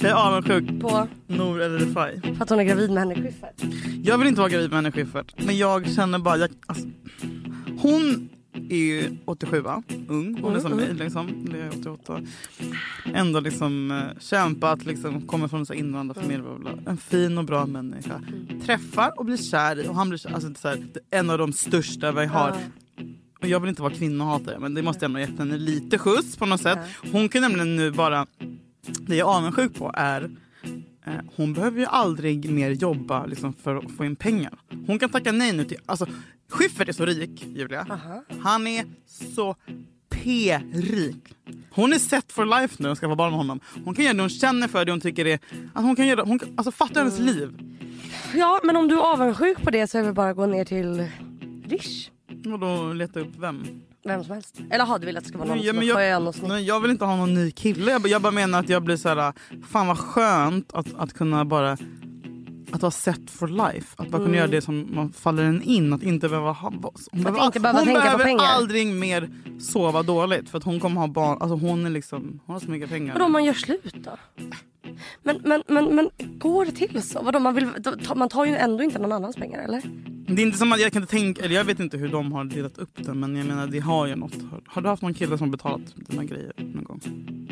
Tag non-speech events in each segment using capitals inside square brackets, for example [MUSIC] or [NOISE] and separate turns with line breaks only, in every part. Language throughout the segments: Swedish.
Jag är avundsjuk.
På
Nor eller Refai.
för att hon är gravid med Henrik Schyffert.
Jag vill inte vara gravid med Henrik Schyffert. Men jag känner bara... Jag, alltså, hon är ju 87 va? Ung. Hon är som mig liksom. Det är 88. Ändå liksom eh, kämpat. Liksom, kommer från en sån här invandrarfamilj. Bla bla. bla. En fin och bra människa. Träffar och blir kär i. Och han blir kär, alltså, det är så här, det är en av de största vi har. Och jag vill inte vara kvinnohatare men det måste jag ändå ha gett henne lite skjuts på något sätt. Hon kan nämligen nu bara... Det jag är avundsjuk på är eh, hon behöver ju aldrig mer jobba liksom, för att få in pengar. Hon kan tacka nej nu till... Alltså, Schyffert är så rik, Julia. Han är så P-rik. Hon är set for life nu och ska få barn med honom. Hon kan göra det hon känner för, det hon tycker är... Alltså, hon kan göra, hon, kan- alltså, fatta hennes liv.
Ja, men om du är avundsjuk på det så är det bara att gå ner till Rish.
Och då leta upp vem?
Vem som helst. Eller har du velat att det ska vara någon
Nej, ja,
som är
men
skön och snygg?
nej, jag vill inte ha någon ny kille. Jag, bara- jag bara menar att jag blir så här, fan vad skönt att, att kunna bara att vara set for life. Att bara
Mm.
kunna göra det som man faller en in. Att inte behöva ha... Hon behöver,
inte behöva
hon
tänka på
behöver
pengar.
aldrig mer sova dåligt. För att hon kommer ha barn. Alltså hon är liksom... Hon har så mycket pengar.
Vadå om man gör slut då? Men, men, men, men går det till så? Vadå, man, vill, då tar- man tar ju ändå inte någon annans pengar eller?
Det är inte som att jag kan inte tänka... Eller jag vet inte hur de har delat upp det. Men jag menar det har ju något. Har, har du haft någon kille som har betalat dina grejer någon gång?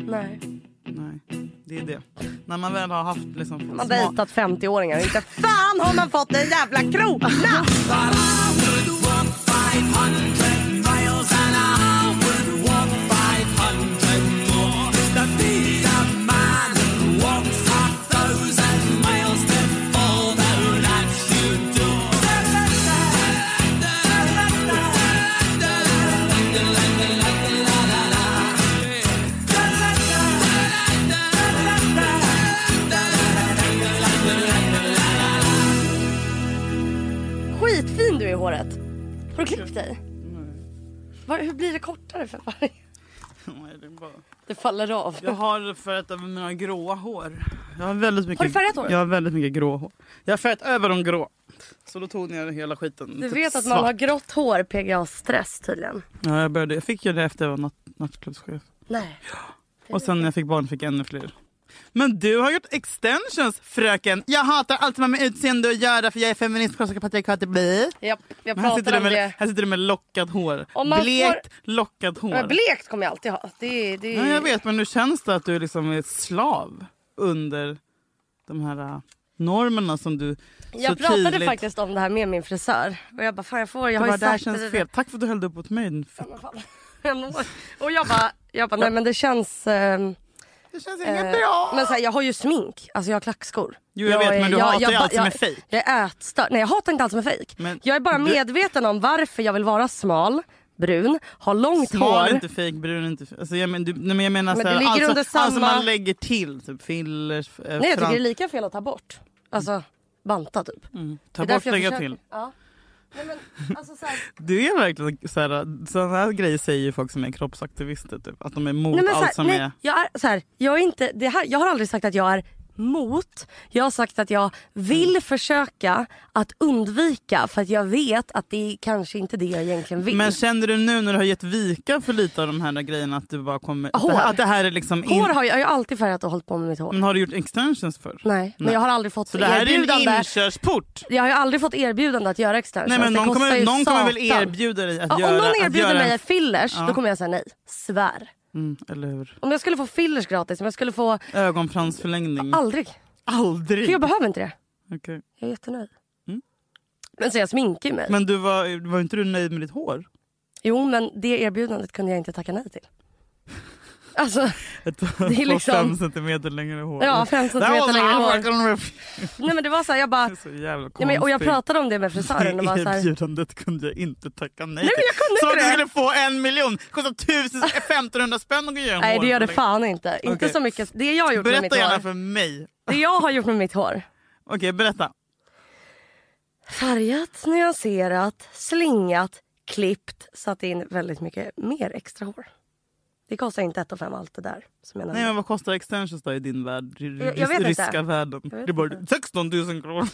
Nej.
Nej. Det är det. När man väl har haft liksom...
Man har dejtat 50-åringar och inte fan har man fått en jävla krona! Skitfin du är i håret. Har du klippt dig? Var, hur blir det kortare för varje?
[LAUGHS] Nej, det är bara...
Det faller av.
Jag har färgat över mina gråa hår. Jag har, väldigt mycket,
Har du färgat håret?
Jag har väldigt mycket grå hår. Jag har färgat över de grå. Så då tog ni hela skiten.
Du
typ
vet att man
svart.
har grått hår, PGA-stress tydligen.
Ja, jag, började, jag fick ju det efter jag var natt, nattklubbschef.
Nej.
Och sen när jag fick barn fick jag ännu fler. Men du har gjort extensions fröken. Jag hatar allt som har med utseende att göra för jag är feminist och patriarkatet blir.
Japp, jag
Men Här sitter,
pratar
du
om
med,
det.
här sitter du med lockat hår.
Om man
Blekt lockat hår.
Men blekt kommer jag alltid ha. Det, är- det, är-
Ja, jag vet, men nu känns det att du liksom är slav under de här äh, normerna som du så
Jag pratade
tydligt...
faktiskt om det här med min frisör. Och jag bara, fan jag får, jag
Det
har ju
bara, det här
sagt
känns
[LAUGHS]
fel. Tack för att du hällde upp åt mig. din f-
Och jag bara, jag bara, nej men det känns... ehm, eh,
Det känns inget bra.
Men så här, jag har ju smink, alltså jag har klackskor.
Jo, jag vet,
är-
men du hatar ju
ba-
allt som är fejk.
Jag är ätstörd. Nej jag hatar inte allt som är fejk.
Men
Jag är bara
du-
medveten om varför jag vill vara smal, brun, ha långt
Smal är
hår.
inte fake, brun är inte fake. Alltså, jag, men, du, nej, men jag menar
Men
så
det
här,
ligger
alltså,
under
alltså
samma-
man lägger till typ fillers. eh,
Nej jag tycker
fram-
det är lika fel att ta bort. Alltså banta typ. Mm.
Ta bort, lägga till.
Ja. Nej, men, alltså,
[LAUGHS]
så här,
Du är verkligen så här, sådana här grejer säger ju folk som är kroppsaktivister. Typ, att de är emot
Nej, men så här,
allt som
nej,
är...
Jag, är så här, jag, är inte, det här, jag har aldrig sagt att jag är mot. Jag har sagt att jag vill
Mm.
försöka att undvika för att jag vet att det är kanske inte det jag egentligen vill.
Men känner du nu när du har gett vika för lite av de här grejerna att du bara kommer...
Hår.
Att, det här, att det här är liksom... In...
hår har jag, jag har alltid färgat och hållit på med mitt hår.
Men har du gjort extensions för?
Nej, men jag har aldrig fått
Så det här är en
erbjudande.
inkörsport.
Jag har ju aldrig fått erbjudande att göra extensions.
Nej men
Det
någon
kostar
kommer,
ju
någon kommer väl
satan.
erbjuda dig att
Ja,
göra...
om någon
att
erbjuder
göra...
mig fillers då kommer jag säga nej. Svär.
Mm, eller hur?
Om jag skulle få fillers gratis, om jag skulle få...
Ögonfransförlängning.
Aldrig.
Aldrig!
För jag behöver inte det.
Okej.
Jag är jättenöjd. Men så jag sminkar ju mig.
Mm. Men du var, var inte du nöjd med ditt hår?
Jo, men det erbjudandet kunde jag inte tacka nej till.
[LAUGHS]
Alltså,
Ett, det
är liksom-
fem centimeter längre hår.
Ja, fem centimeter
That was
längre hår.
African rip.
nej men det var så här, jag bara...
Det är [LAUGHS] Så jävla
Ja, men, och jag pratade om det med frisören och var
[LAUGHS]
så
Det
här,
erbjudandet kunde jag inte tacka nej,
men jag
till.
kunde
Som
inte
att du
det.
skulle få en miljon. Kostar tusen,
[LAUGHS]
1500 spänn att göra en
Nej det gör det
hårförlängning.
fan inte. Inte
Okej.
så mycket. Det jag har gjort med
Berätta
mitt
gärna
hår.
för mig.
Det jag har gjort med mitt hår.
Okej, berätta.
Färgat, nyanserat, slingat, klippt. Satt in väldigt mycket mer extra hår. Det kostar inte ett och fem allt det där. Som jag
Nej,
nämnde.
men vad kostar extensions då i din värld? I
Jag- jag vet inte.
ryska världen.
vet
Det är bara 16 000 kronor.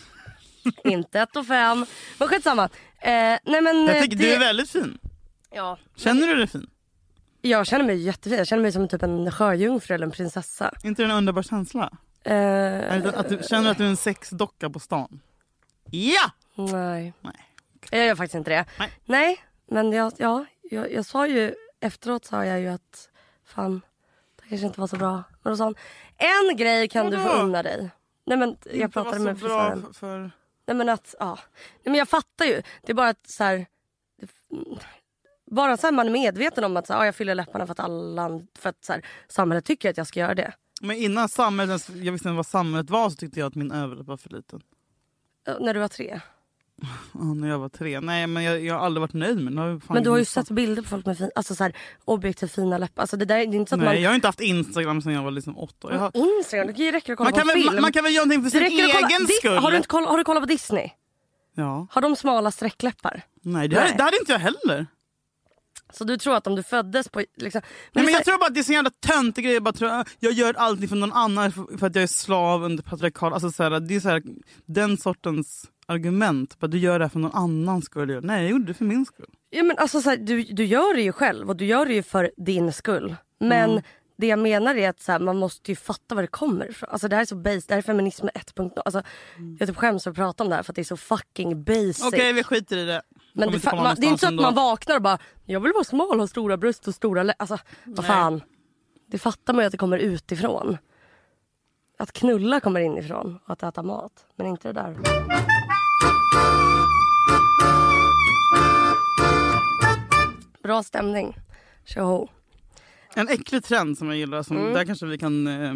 Inte ett och fem. Men skitsamma. Eh, nej men... eh,
Jag tycker du är väldigt fin.
ja.
Känner du dig fin?
Jag känner mig jättefin. Jag känner mig som typ en sjöjungfru eller en prinsessa.
inte det en underbar känsla?
Eh,
Att, att du, känner du att du är en sexdocka på stan? Ja!
nej.
Nej.
Jag gör faktiskt inte det.
Nej.
men jag, ja, jag, jag sa ju efteråt sa jag ju att fan, det kanske inte var så bra. Men då sa hon, en grej kan du få
Vadå?
unna dig. Nej men jag pratade med frisören.
För, för...
Nej men att, ja. Nej, men jag fattar ju. Det är bara att så här, det- Bara så här man är medveten om att så här, ja, jag fyller läpparna för att, alla, för att så här, samhället tycker att jag ska göra det.
Men innan samhället, ens- jag visste inte vad samhället var så tyckte jag att min överläpp var för liten.
Ö, Eh, När du var tre.
Ja, när jag var tre. Nej men jag, jag har aldrig varit nöjd med den.
Men du har ju sett bilder på folk med fin, alltså så här, objektivt fina läppar. Alltså det, där, det är inte så att
Nej, jag har inte haft Instagram sedan jag var liksom åtta. Jag har...
man... Instagram, det räcker att kolla
man,
på
kan
en film.
väl, man kan väl göra någonting för sin
det räcker att kolla,
egen
Dis-
skull?
Har du, inte koll, har du kollat på Disney?
Ja.
Har de smala sträckläppar?
Nej, det, hade-
Nej.
det hade inte jag heller.
Så du tror att om du föddes på... Liksom,
Nej, men
det är
jag
så
tror bara att det är så jävla töntig grej. Jag, bara tror, jag gör allting för någon annan för för att jag är slav under patriarkal. Alltså, så här, det är så här, den sortens argument. Bara, du gör det här för någon annans skull. Nej, jag gjorde det för min skull.
här, ja, men alltså så här, du, du gör det ju själv och du gör det ju för din skull. Men
Mm.
det jag menar är att så här, man måste ju fatta var det kommer ifrån. Alltså, det här är så base, det här är feminism 1.0. Alltså, Jag typ skäms att prata om det här för att det är så fucking basic.
Mm. Okej, vi skiter i det.
Men
Kommer
det,
inte
fa-
komma
man, det är inte så att man
någonstans ändå.
vaknar och bara “jag vill vara smal, ha stora bröst och stora lä-" Alltså vad
Nej.
fan. Det fattar man ju att det kommer utifrån. Att knulla kommer inifrån och att äta mat. Men inte det där. Bra stämning. Tjoho.
En äcklig trend som jag gillar, som, där kanske vi kan eh,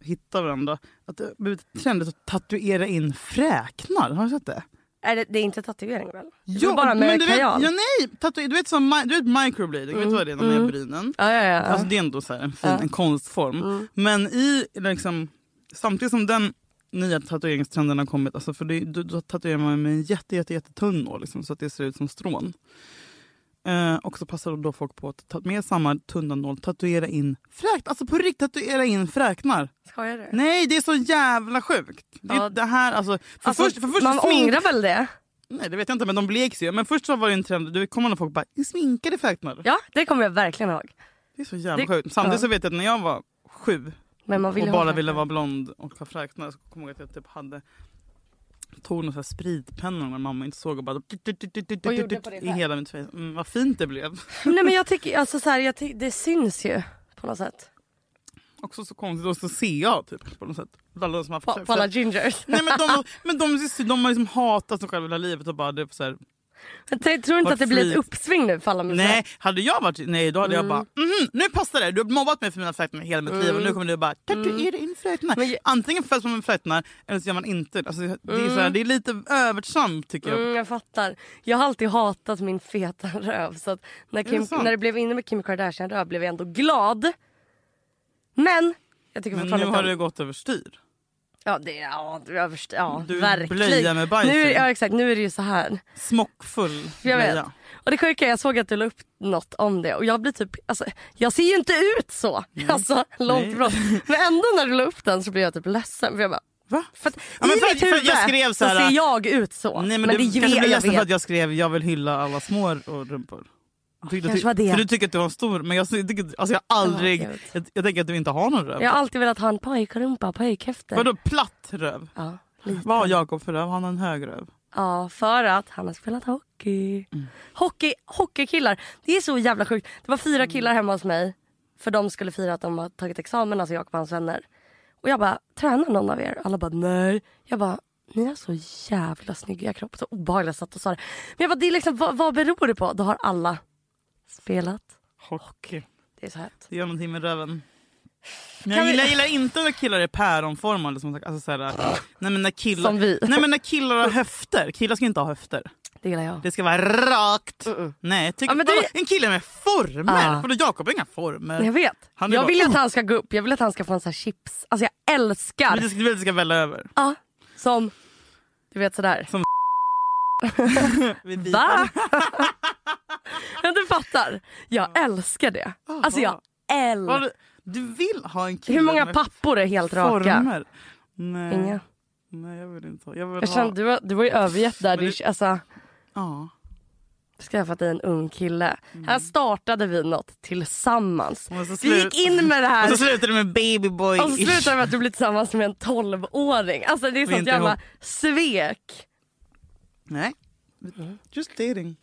hitta varandra. Att det har blivit trendigt att tatuera in fräknar. Har du sett det?
Är det, det är inte tatuering väl? Det är bara med
men du vet, ja,
kajal.
nej, tatu- du vet, som, mi- du vet microblading, vet du vad det är? När man gör brynen.
Ja, ja, Mm. ja.
Alltså det Mm. är ändå så här en, fin, en konstform. Men i liksom, samtidigt som den nya tatueringstrenden har kommit, alltså för det, då, då tatuerar man med en jätte, jätte, jättetunn nål liksom, så att det ser ut som strån. Eh, och så passar då folk på att ta med samma tunna nål, tatuera in fräkt, alltså på riktigt tatuera in fräknar.
Skojar du?
Nej det är så jävla sjukt. Det,
Ja.
det här alltså, för
Alltså,
först, för först
man
smink-
ångrar väl det?
Nej det vet jag inte men de bleks ju. Men först så var det en trend, du kommer när folk bara sminkade fräknar.
Ja, det kommer jag verkligen ihåg.
Det är så jävla
Det-
sjukt. Samtidigt
ja.
så vet jag att när jag var sju
Men man vill
och
ju
bara
ha
ville
fräknar.
vara blond och ha fräknar så kommer jag ihåg att jag typ hade tog någon sån här spritpenna någon gång mamma inte såg och bara
Och gjorde på det
i
själv.
hela mitt face. Mm, vad fint det blev.
Nej men jag tycker, alltså så här, jag ty- det syns ju på något sätt.
Också så konstigt och så ser jag typ på något sätt. Alla som har
På, på alla gingers.
Nej, men de, men de, de, de har liksom hatat sig själva hela livet och bara det är så här,
Jag t- tror inte
Vart
att det blir ett
flit.
uppsving nu för alla muslimer.
Nej, hade jag varit nej då hade
Mm.
jag bara mhm, nu passar det. Du har mobbat mig för mina fläknar hela mitt liv och nu kommer du bara tatuera in fläknar.
Mm. Men-
Antingen föds man med fläknar eller så gör man inte det. alltså, det. Är så här, det är lite övertsamt tycker jag.
Mm, jag fattar. Jag har alltid hatat min feta [LAUGHS] röv. Så att när,
det
Kim,
sant?
när det blev inne med Kim Kardashian röv blev jag ändå glad. Men jag tycker
Men nu
fortfarande
har
inte
det
om-
gått överstyr.
Ja, det, ja, det- jag förstår, ja
Du
verkligen.
blöja med bajsen.
nu, är- Ja exakt, nu är det ju så här.
Smockfull
Jag vet.
blöja.
Och det sjuka är jag såg att du la upp något om det och jag blir typ, alltså, jag ser ju inte ut så. Alltså långt
Nej.
ifrån. Men ändå när du la upp den så blev jag typ ledsen. För jag bara,
Va?
för att
Ja, men
i
för-
mitt
för
huvud
jag skrev
så,
så här-
ser jag ut så.
Nej, men
det
det
är
kanske
ju det
blev
jag
ledsen
vet.
för att jag skrev jag vill hylla alla små och rumpor. Tyckte-
kanske var det.
För du tycker att du har en stor men jag tycker alltså jag har aldrig,
Ja, jag vet.
jag, jag tänker att du inte har någon röv.
Jag har alltid velat ha en pojkrumpa, pojkhäfter.
Vadå platt röv?
Ja, lite.
Vad har Jakob för röv? Han har en hög röv.
ja, för att han har spelat hockey.
Mm.
hockey. Hockeykillar, det är så jävla sjukt. Det var
Mm.
fyra killar hemma hos mig för de skulle fira att de har tagit examen, alltså jag och hans vänner. Och jag bara, tränar någon av er? Alla bara, nej. Jag bara, ni har så jävla snygga kroppar. Så obehagligt jag satt och sa det. Men jag bara, det är liksom, vad, vad beror det på? Då har alla spelat.
Hockey.
Det är så hett.
Det gör någonting med röven. Men
Kan
jag
vi-
gillar, jag gillar inte när killar är päronformade. Som, alltså så här, nej, men när killar,
Som vi.
Nej men när killar har höfter. Killar ska inte ha höfter.
Det gillar jag.
Det ska vara rakt. Nej, tycker,
Mm, Ja, men det-
vadå? En kille med former.
Ja.
Vadå Jakob har inga former.
Jag vet.
Han är
jag
bara-
vill att han ska gå upp. Jag vill att han ska få en sån här chips. Alltså jag älskar
Men det ska, det ska välla över.
Ja, som... Du vet sådär.
Vi- vi-
[LAUGHS] Va? Men du fattar. Jag älskar det. Alltså jag
Vad
älskar...
du- Du vill ha en kille
Hur många
med
pappor är helt raka?
former? Nej,
Inga.
nej jag vill inte ha. Jag vill
Jag
ha...
känner, du, var- du var ju övergett där.
Men
alltså, Du,
det-
alltså,
Ja.
skaffat dig en ung kille.
Mm.
Här startade vi något tillsammans.
Och så
Vi
slut-
gick in med det här
Och så
och
slutar det med babyboy
så slutar det med att du blir tillsammans med en 12-åring. Alltså det är
Vi är
sånt
inte
jävla
ihop.
svek.
Nej. Just dating.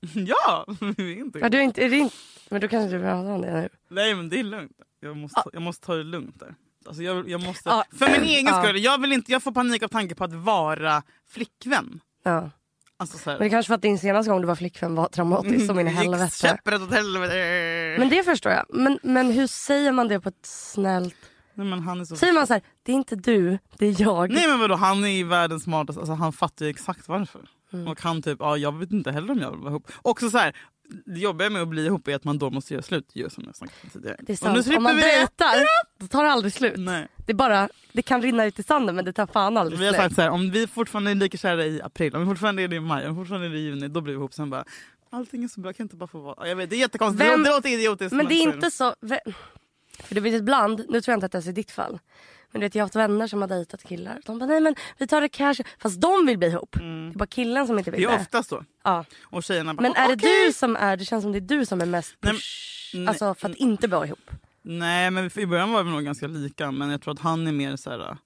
[LAUGHS] Ja! [LAUGHS] vi är inte
Ja, du är inte, är det inte, men du kanske inte vill prata om det nu.
Nej men det är lugnt. Jag måste, jag måste ta det lugnt där. Alltså jag, jag måste,
Ja.
För
[CLEARS THROAT]
min egen
Ja.
skull. Jag, vill inte, jag får panik av tanke på att vara flickvän.
Ja.
Alltså så här,
Men det kanske för att din senaste gång du var flickvän var traumatisk som in i
Mm, gick
helvete.
Käpprätt åt helvete.
Men det förstår jag. Men, men hur säger man det på ett snällt...
Nej, men han är så...
Säger man så här, det är inte du, det är jag.
Nej men vadå, han är ju världens smartaste. Alltså, han fattar ju exakt varför.
Mm.
Och han typ, ja, jag vet inte heller om jag vill vara ihop. Också så här, det jobbiga med att bli ihop är att man då måste göra slut. Ju som jag snackat om tidigare.
Det är
Och nu
sant.
slipper
Om man
vi det.
dejtar, då tar det aldrig slut.
Nej.
Det, är bara, det kan rinna ut i sanden men det tar fan aldrig
Vi har
slut.
sagt så här, om vi fortfarande är lika kära i april, om vi fortfarande är det i maj, om vi fortfarande är det i juni, då blir vi ihop. Sen bara, allting är så bra, jag kan inte bara få vara. Ja, Jag vet, det är jättekonstigt,
Vem-
det låter idiotiskt.
Men det är
så
inte så... vä- För du vet ibland, nu tror jag inte att det är i ditt fall. Men du vet jag har haft vänner som har dejtat killar. De bara nej men vi tar det cash. Fast de vill bli ihop. Det är bara killen som inte
Mm. Det
vill
är
det.
oftast så.
Ja.
Och tjejerna bara,
Men är det
"Okej."
du som är, det känns som det är du som är mest
Nej, men-
push,
nej.
alltså för att inte vara ihop.
Nej men i början var vi nog ganska lika men jag tror att han är mer så här.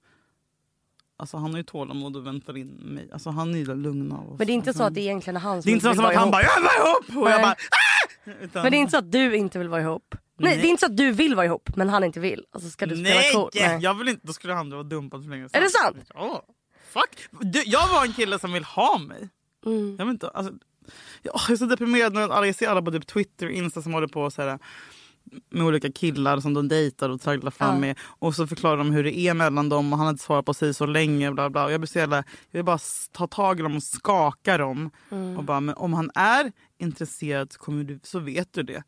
Alltså han har ju tålamod och väntar in mig. Alltså han gillar lugn av oss.
Men det är inte så att det egentligen är han som
Det är inte så
vill
som
vara
att han
ihop.
bara jag var ihop och jag
Nej.
bara ah! Utan,
Men det är inte så att du inte vill vara ihop. Nej,
Nej.
det är inte så att du vill vara ihop men han inte vill. Alltså ska du spela
Nej,
cool?
jag vill inte, då skulle han vara dumpad för länge
Är det sant?
Ja. Fuck. Du, jag var en kille som vill ha mig.
Mm.
Jag, vet inte, alltså, jag jag är så deprimerad nu. att alla- Jag ser alla på typ Twitter och Insta som håller på så här, med olika killar som de dejtar och tragglar fram
Ja.
med. Och så förklarar de hur det är mellan dem och han har inte svarat på sig så länge. Bla bla. Och jag, blir så jävla, jag vill bara s- ta tag i dem och skaka dem.
Mm.
Och bara, men om han är intresserad så, kommer du, så vet du det.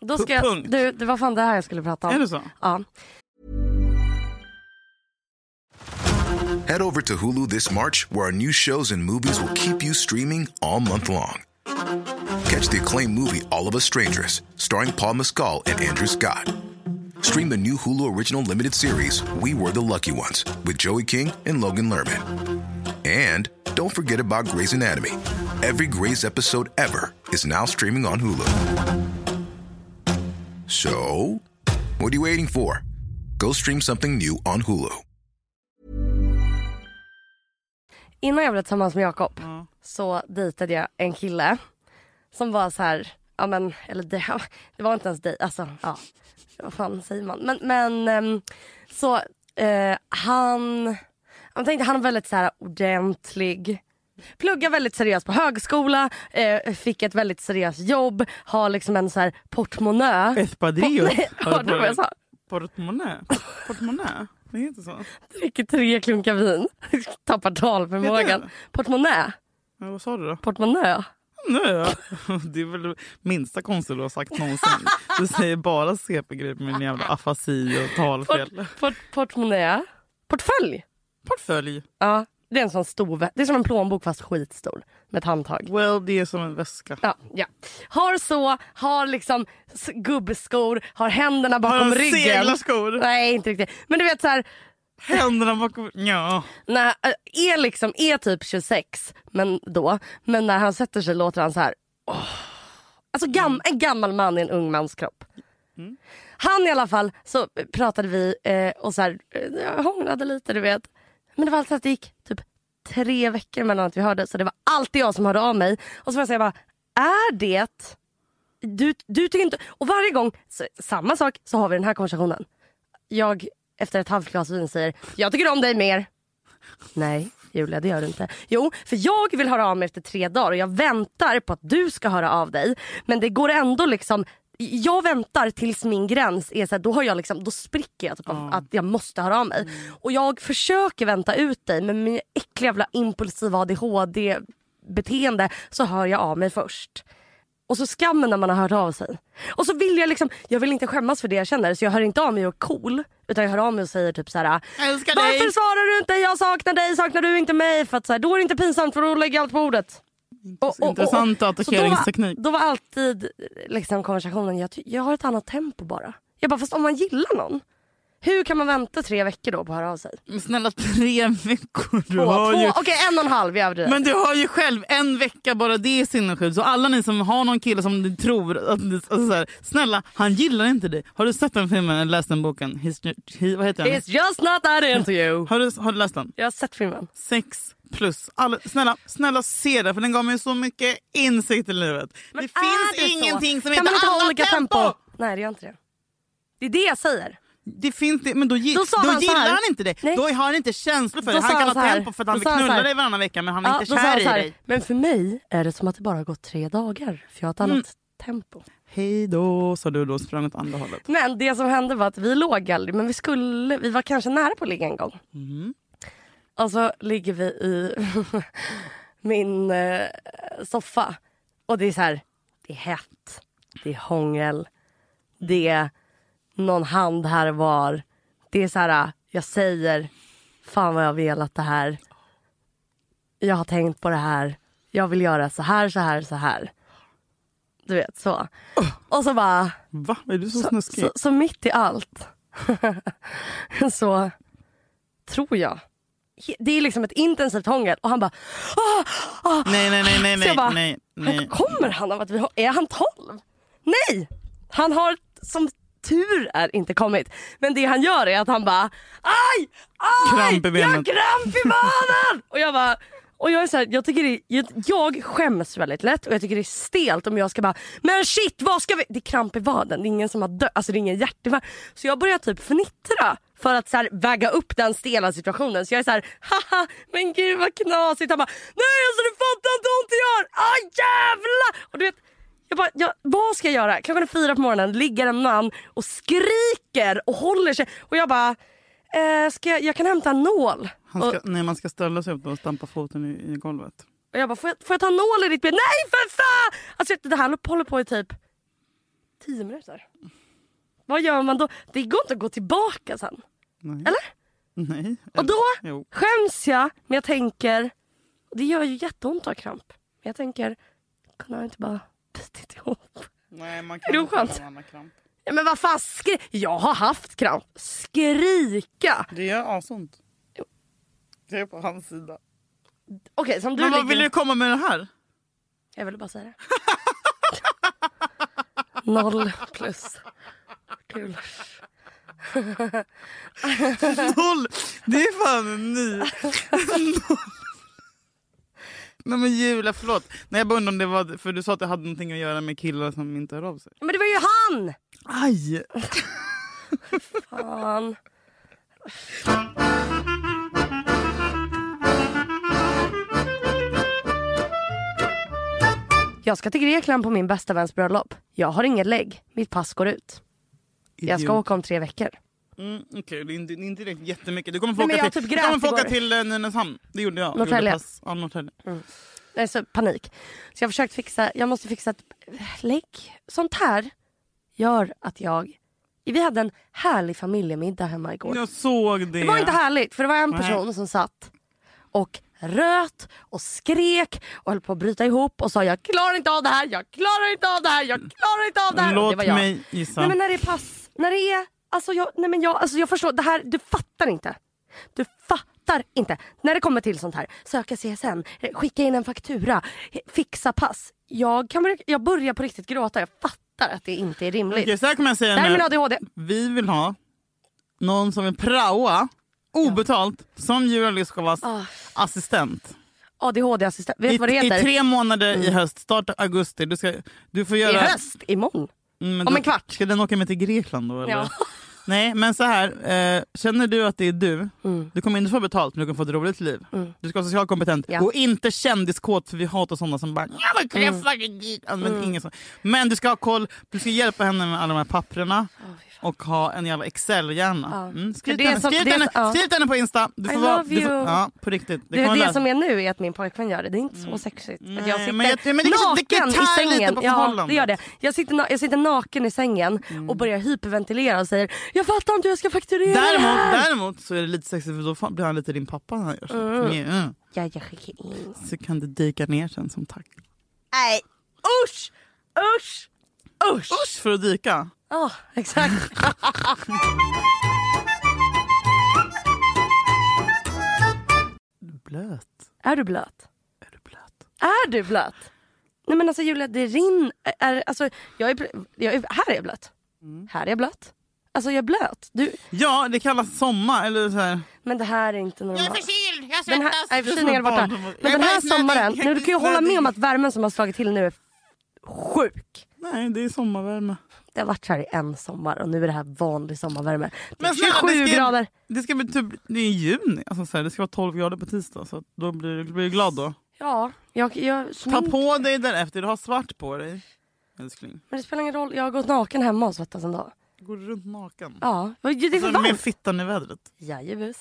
Då ska jag,
Punkt.
du, det var fan det här jag skulle prata om.
Är det
[LAUGHS]
så?
Ja.
Head over to Hulu this March, where our new shows and movies will keep you streaming all month long. Catch the acclaimed movie All of Us Strangers, starring Paul Mescal and Andrew Scott. Stream the new Hulu original limited series We Were the Lucky Ones with Joey King and Logan Lerman. And don't forget about Grey's Anatomy. Every Grey's episode ever is now streaming on Hulu. So, what are you waiting for? Go stream something new on Hulu.
Innan jag blev tillsammans med Jakob
Ja.
så dejtade jag en kille som var så här, ja men, eller det, [LAUGHS] det var inte ens dig, alltså ja, vad fan säger man? Men, men ehm, så eh, han, jag tänkte han var väldigt så här ordentlig. Pluggar väldigt seriöst på högskola, eh, fick ett väldigt seriöst jobb, har liksom en så här portmonnä.
Espadrillo.
[LAUGHS] Nej, hörde du vad jag sa?
Portmonnä? Portmonnä? Det heter så.
Dricker tre klunkar vin, [LAUGHS] tappar
Vet
talförmågan.
du?
Portmonnä,
Ja, vad sa du då?
portmonnä.
Nu [LAUGHS] Det är väl det minsta konstiga du har sagt någonsin. Du säger bara CP-grejer med din jävla afasi och talfel.
Port, port, portmonnä. Portfölj.
Portfölj.
Ja, det är en sån stor. vä- Det är som en plånbok fast skitstor. Med ett handtag.
Well, det är som en väska.
Ja, ja. Har så, har liksom s- gubbskor, har händerna bakom
han
ryggen.
seglarskor?
Nej, inte riktigt. Men du vet så här,
Händerna bakom... Ja.
när, äh, är liksom, är typ 26 men då, men när han sätter sig låter han så här. åh. Alltså gam, en gammal man i en ung mans kropp. Han i alla fall, så pratade vi eh, och så här, eh, hånglade lite du vet. Men det var alltid så att det gick typ tre veckor mellan att vi hörde så det var alltid jag som hörde av mig. Och så var jag säga bara, är det du, du tycker inte... Och varje gång, så, samma sak, så har vi den här konversationen. Jag efter ett halvt glas vin säger, jag tycker om dig mer. Nej, Julia det gör du inte. Jo, för jag vill höra av mig efter tre dagar och jag väntar på att du ska höra av dig. Men det går ändå liksom... Jag väntar tills min gräns är så här, då, har jag liksom, då spricker jag. Typ, av Att jag måste höra av mig. Och jag försöker vänta ut dig men min äckliga jävla impulsiva ADHD-beteende så hör jag av mig först. Och så skammen när man har hört av sig. Och så vill jag liksom, jag vill inte skämmas för det jag känner så jag hör inte av mig och är cool. Utan jag hör av mig och säger typ så här.
Jag älskar dig.
Varför svarar du inte? Jag saknar dig, saknar du inte mig? För att så här, då är det inte pinsamt för då lägger jag allt på bordet. Och- och- och-
Intressant
och-
attackeringsteknik.
Så Då var, då var alltid liksom, konversationen, jag, ty- jag har ett annat tempo bara. Jag bara, fast om man gillar någon. Hur kan man vänta tre veckor då på att höra av sig?
Men snälla tre veckor. Du
Två, två,
har ju...
okej en och en halv, jag överdriver.
Men du har ju själv en vecka bara det är sinnessjukt. Så alla ni som har någon kille som ni tror att ni, alltså så här, snälla han gillar inte dig. Har du sett den filmen eller läst den boken? His, he, vad heter den?
It's just not that into you.
Har du, har du läst den?
Jag har sett filmen.
Sex plus. Alla, snälla, snälla se den för den gav mig så mycket insikt i livet. det
Är
finns
så?
ingenting som
kan man inte
heter
ha
annat
olika
tempo.
tempo? Nej det gör inte det. Det är det jag säger.
Det finns det, men då, gi-
Då
då,
sa han så
gillar
här.
han inte dig.
Nej.
Då har han inte känslor för
Då
dig.
sa
Han kan
han
ha
så här.
tempo för att han
Då
vill
sa han så
knulla
här.
dig varannan vecka men han är
då
inte
sa han
kär i
så här,
dig.
Men för mig är det som att det bara gått tre dagar för jag har ett annat
Mm.
tempo.
Hej då sa du då och sprang åt andra hållet.
Men det som hände var att vi låg aldrig men vi skulle, vi var kanske nära på att ligga en gång. Och så ligger vi i [LAUGHS] min eh, soffa och det är så här, det är hett, det är hångel, det är någon hand här var. Det är så här, jag säger, fan vad jag har velat det här. Jag har tänkt på det här, jag vill göra så här, så här, så här. Du vet så. Och så bara
Va? Är du så, snuskig?
så, så mitt i allt [LAUGHS] så tror jag. Det är liksom ett intensivt hångel och han bara... "Ah, ah."
Nej, nej, nej, nej,
Så
nej,
jag bara,
nej,
"Han-
nej.
Kommer han av att vi har... Är han 12? Nej! Han har som tur är inte kommit. Men det han gör är att han bara... Aj! Aj!
Kramp i
Jag
benet."
har kramp i magen! och jag bara... Och jag, är så här, jag, tycker det, jag, jag skäms väldigt lätt och jag tycker det är stelt om jag ska bara Men shit vad ska vi? Det är kramp i vaden, det är ingen som har dött, alltså det är ingen hjärtinfarkt. Så jag börjar typ fnittra för att så här, väga upp den stela situationen. Så jag är så här, haha men gud vad knasigt. Han bara nej alltså du fattar inte hur ont det gör! Ah jävlar! Och du vet, jag bara, ja, vad ska jag göra? Klockan är fyra på morgonen, ligger en man och skriker och håller sig. Och jag bara, eh, ska jag, jag kan hämta en nål.
Han ska, nej, man ska ställa sig upp och stampa foten i, i golvet.
Och jag bara, får jag, får jag ta nål i ditt ben? Nej för fan! Alltså det här håller på i typ 10 minuter. Vad gör man då? Det går inte att gå tillbaka sen.
Nej.
Eller?
Nej.
Och då
Jo.
skäms jag, men jag tänker, och det gör ju jätteont att ha kramp. Men jag tänker, kunde han inte bara bitit ihop?
Nej, man
Är
kan
det
inte
oskönt?
ha en annan kramp.
Ja, men vad fan, skri- jag har haft kramp. Skrika!
Det gör asont. Det är på hans sida.
Okej, som du
Men vad
ligger-
vill du komma med det här?
Jag ville bara säga [LAUGHS] det. Noll plus.
[LAUGHS]
Kul.
Noll! Det är fan en ny. Noll. [LAUGHS] Nej men Julia, förlåt. Nej, jag bara undrar om det var... För du sa att det hade någonting att göra med killar som inte hör av sig.
Men det var ju han!
Aj!
Fan. Jag ska till Grekland på min bästa väns bröllop. Jag har inget lägg. Mitt pass går ut. Jag ska åka om tre veckor.
Mm, Okej, det är inte, det är inte direkt jättemycket. Du kommer
Nej,
få
men
åka
jag
till,
typ
du
grät
kommer få åka
igår.
till eh, Nynäshamn. Det gjorde jag.
Norrtälje.
Gjorde pass- Ja, Norrtälje.
Nej, så Alltså, panik. Så jag har försökt fixa, jag måste fixa ett lägg. Sånt här gör att jag... Vi hade en härlig familjemiddag hemma igår.
Jag såg det.
Det var inte härligt för det var en
Nej.
person som satt och röt och skrek och höll på att bryta ihop och sa jag klarar inte av det här, jag klarar inte av det här, jag klarar inte av det här. Och det
Låt
var jag.
mig gissa.
Nej men när det är pass, när det är, alltså jag, nej men jag, alltså jag förstår, det här, du fattar inte. Du fattar inte. När det kommer till sånt här, söka CSN, eh, skicka in en faktura, eh, fixa pass. Jag, kan, börja- jag börjar på riktigt gråta, jag fattar att det inte är rimligt.
Okej, så här kommer jag säga
Där är min
nu.
ADHD.
Vi vill ha någon som vill praoa obetalt som Julia Lyskova
Ah.
assistent.
ADHD-assistent, vet
I,
du vad det
I
heter? Mm.
tre månader i höst, start augusti. Du, ska, du får göra...
I höst, imorgon.
Mm, men
Om
då-
en kvart.
Ska den åka med till Grekland då? Eller?
Ja.
Nej men så här, eh, känner du att det är du,
Mm.
du kommer inte få betalt men du kommer få ett roligt liv. Du ska vara socialt kompetent
Ja. Mm.
och inte kändiskåt för vi hatar sådana som bara "Ja, men kräfta dig dit." Ja, men, ingen sån. men du ska ha koll, du ska hjälpa henne med alla de här papperna och ha en jävla excel-hjärna.
Ja.
Mm. Skriv,
För
till
det
henne,
som-
skriv,
det
till henne,
som- ja.
skriv till henne på Insta. Du
I
vara-
love
du får,
you.
ja, på riktigt. Det,
Det,
kommer
det
lösa-
som är nu är att min pojkvän gör det. Det är inte så sexigt. att jag
Nej,
sitter
men jag- men det kanske- det kan
naken i
tära lite
sängen.
på
ja,
förhållandet. Mm.
det gör det. Jag, sitter, na- jag sitter naken i sängen och börjar hyperventilera och säger Jag fattar inte hur jag ska fakturera det
Däremot,
här.
däremot så är det lite sexigt för då fan blir han lite din pappa. när Han gör så. Mm.
Ja, jag skickar in.
så kan du dyka ner sen som tack.
Nej, usch! Usch! Usch!
Usch för att dyka.
Ja, exakt. Är du blöt?
Är du blöt?
Är du blöt? Nej men alltså Julia, det rinner. Är, alltså, jag är, jag är, här är jag blöt.
Mm.
Här är jag blöt. Alltså jag är blöt. Du,
Ja, det kallas sommar. Eller så här.
men det här är inte normalt.
förkyld, jag
Den här, nej, förkylningen är
Det är
borta.
som ett barn som-
Men
Jag
den
är
här
bajsnödig,
sommaren,
jag är
nu du kan ju hålla med om att
bajsnödig.
värmen som har slagit till nu är sjuk.
Nej, det är sommarvärme.
Det har varit så här i en sommar och nu är det här vanlig sommarvärme. Det är
Men snälla,
27
det ska-
grader.
Det ska bli typ, det är juni. Alltså så här, det ska vara 12 grader på tisdag. Så att då blir du blir du glad då.
Ja, jag, jag
Ta
smink,
på dig därefter. Du har svart på dig. Älskling.
men det spelar ingen roll. Jag har gått naken hemma och svettats en dag.
Går du runt naken?
Ja, det är för
Alltså, med
varmt.
fittan i vädret.
Jajebus.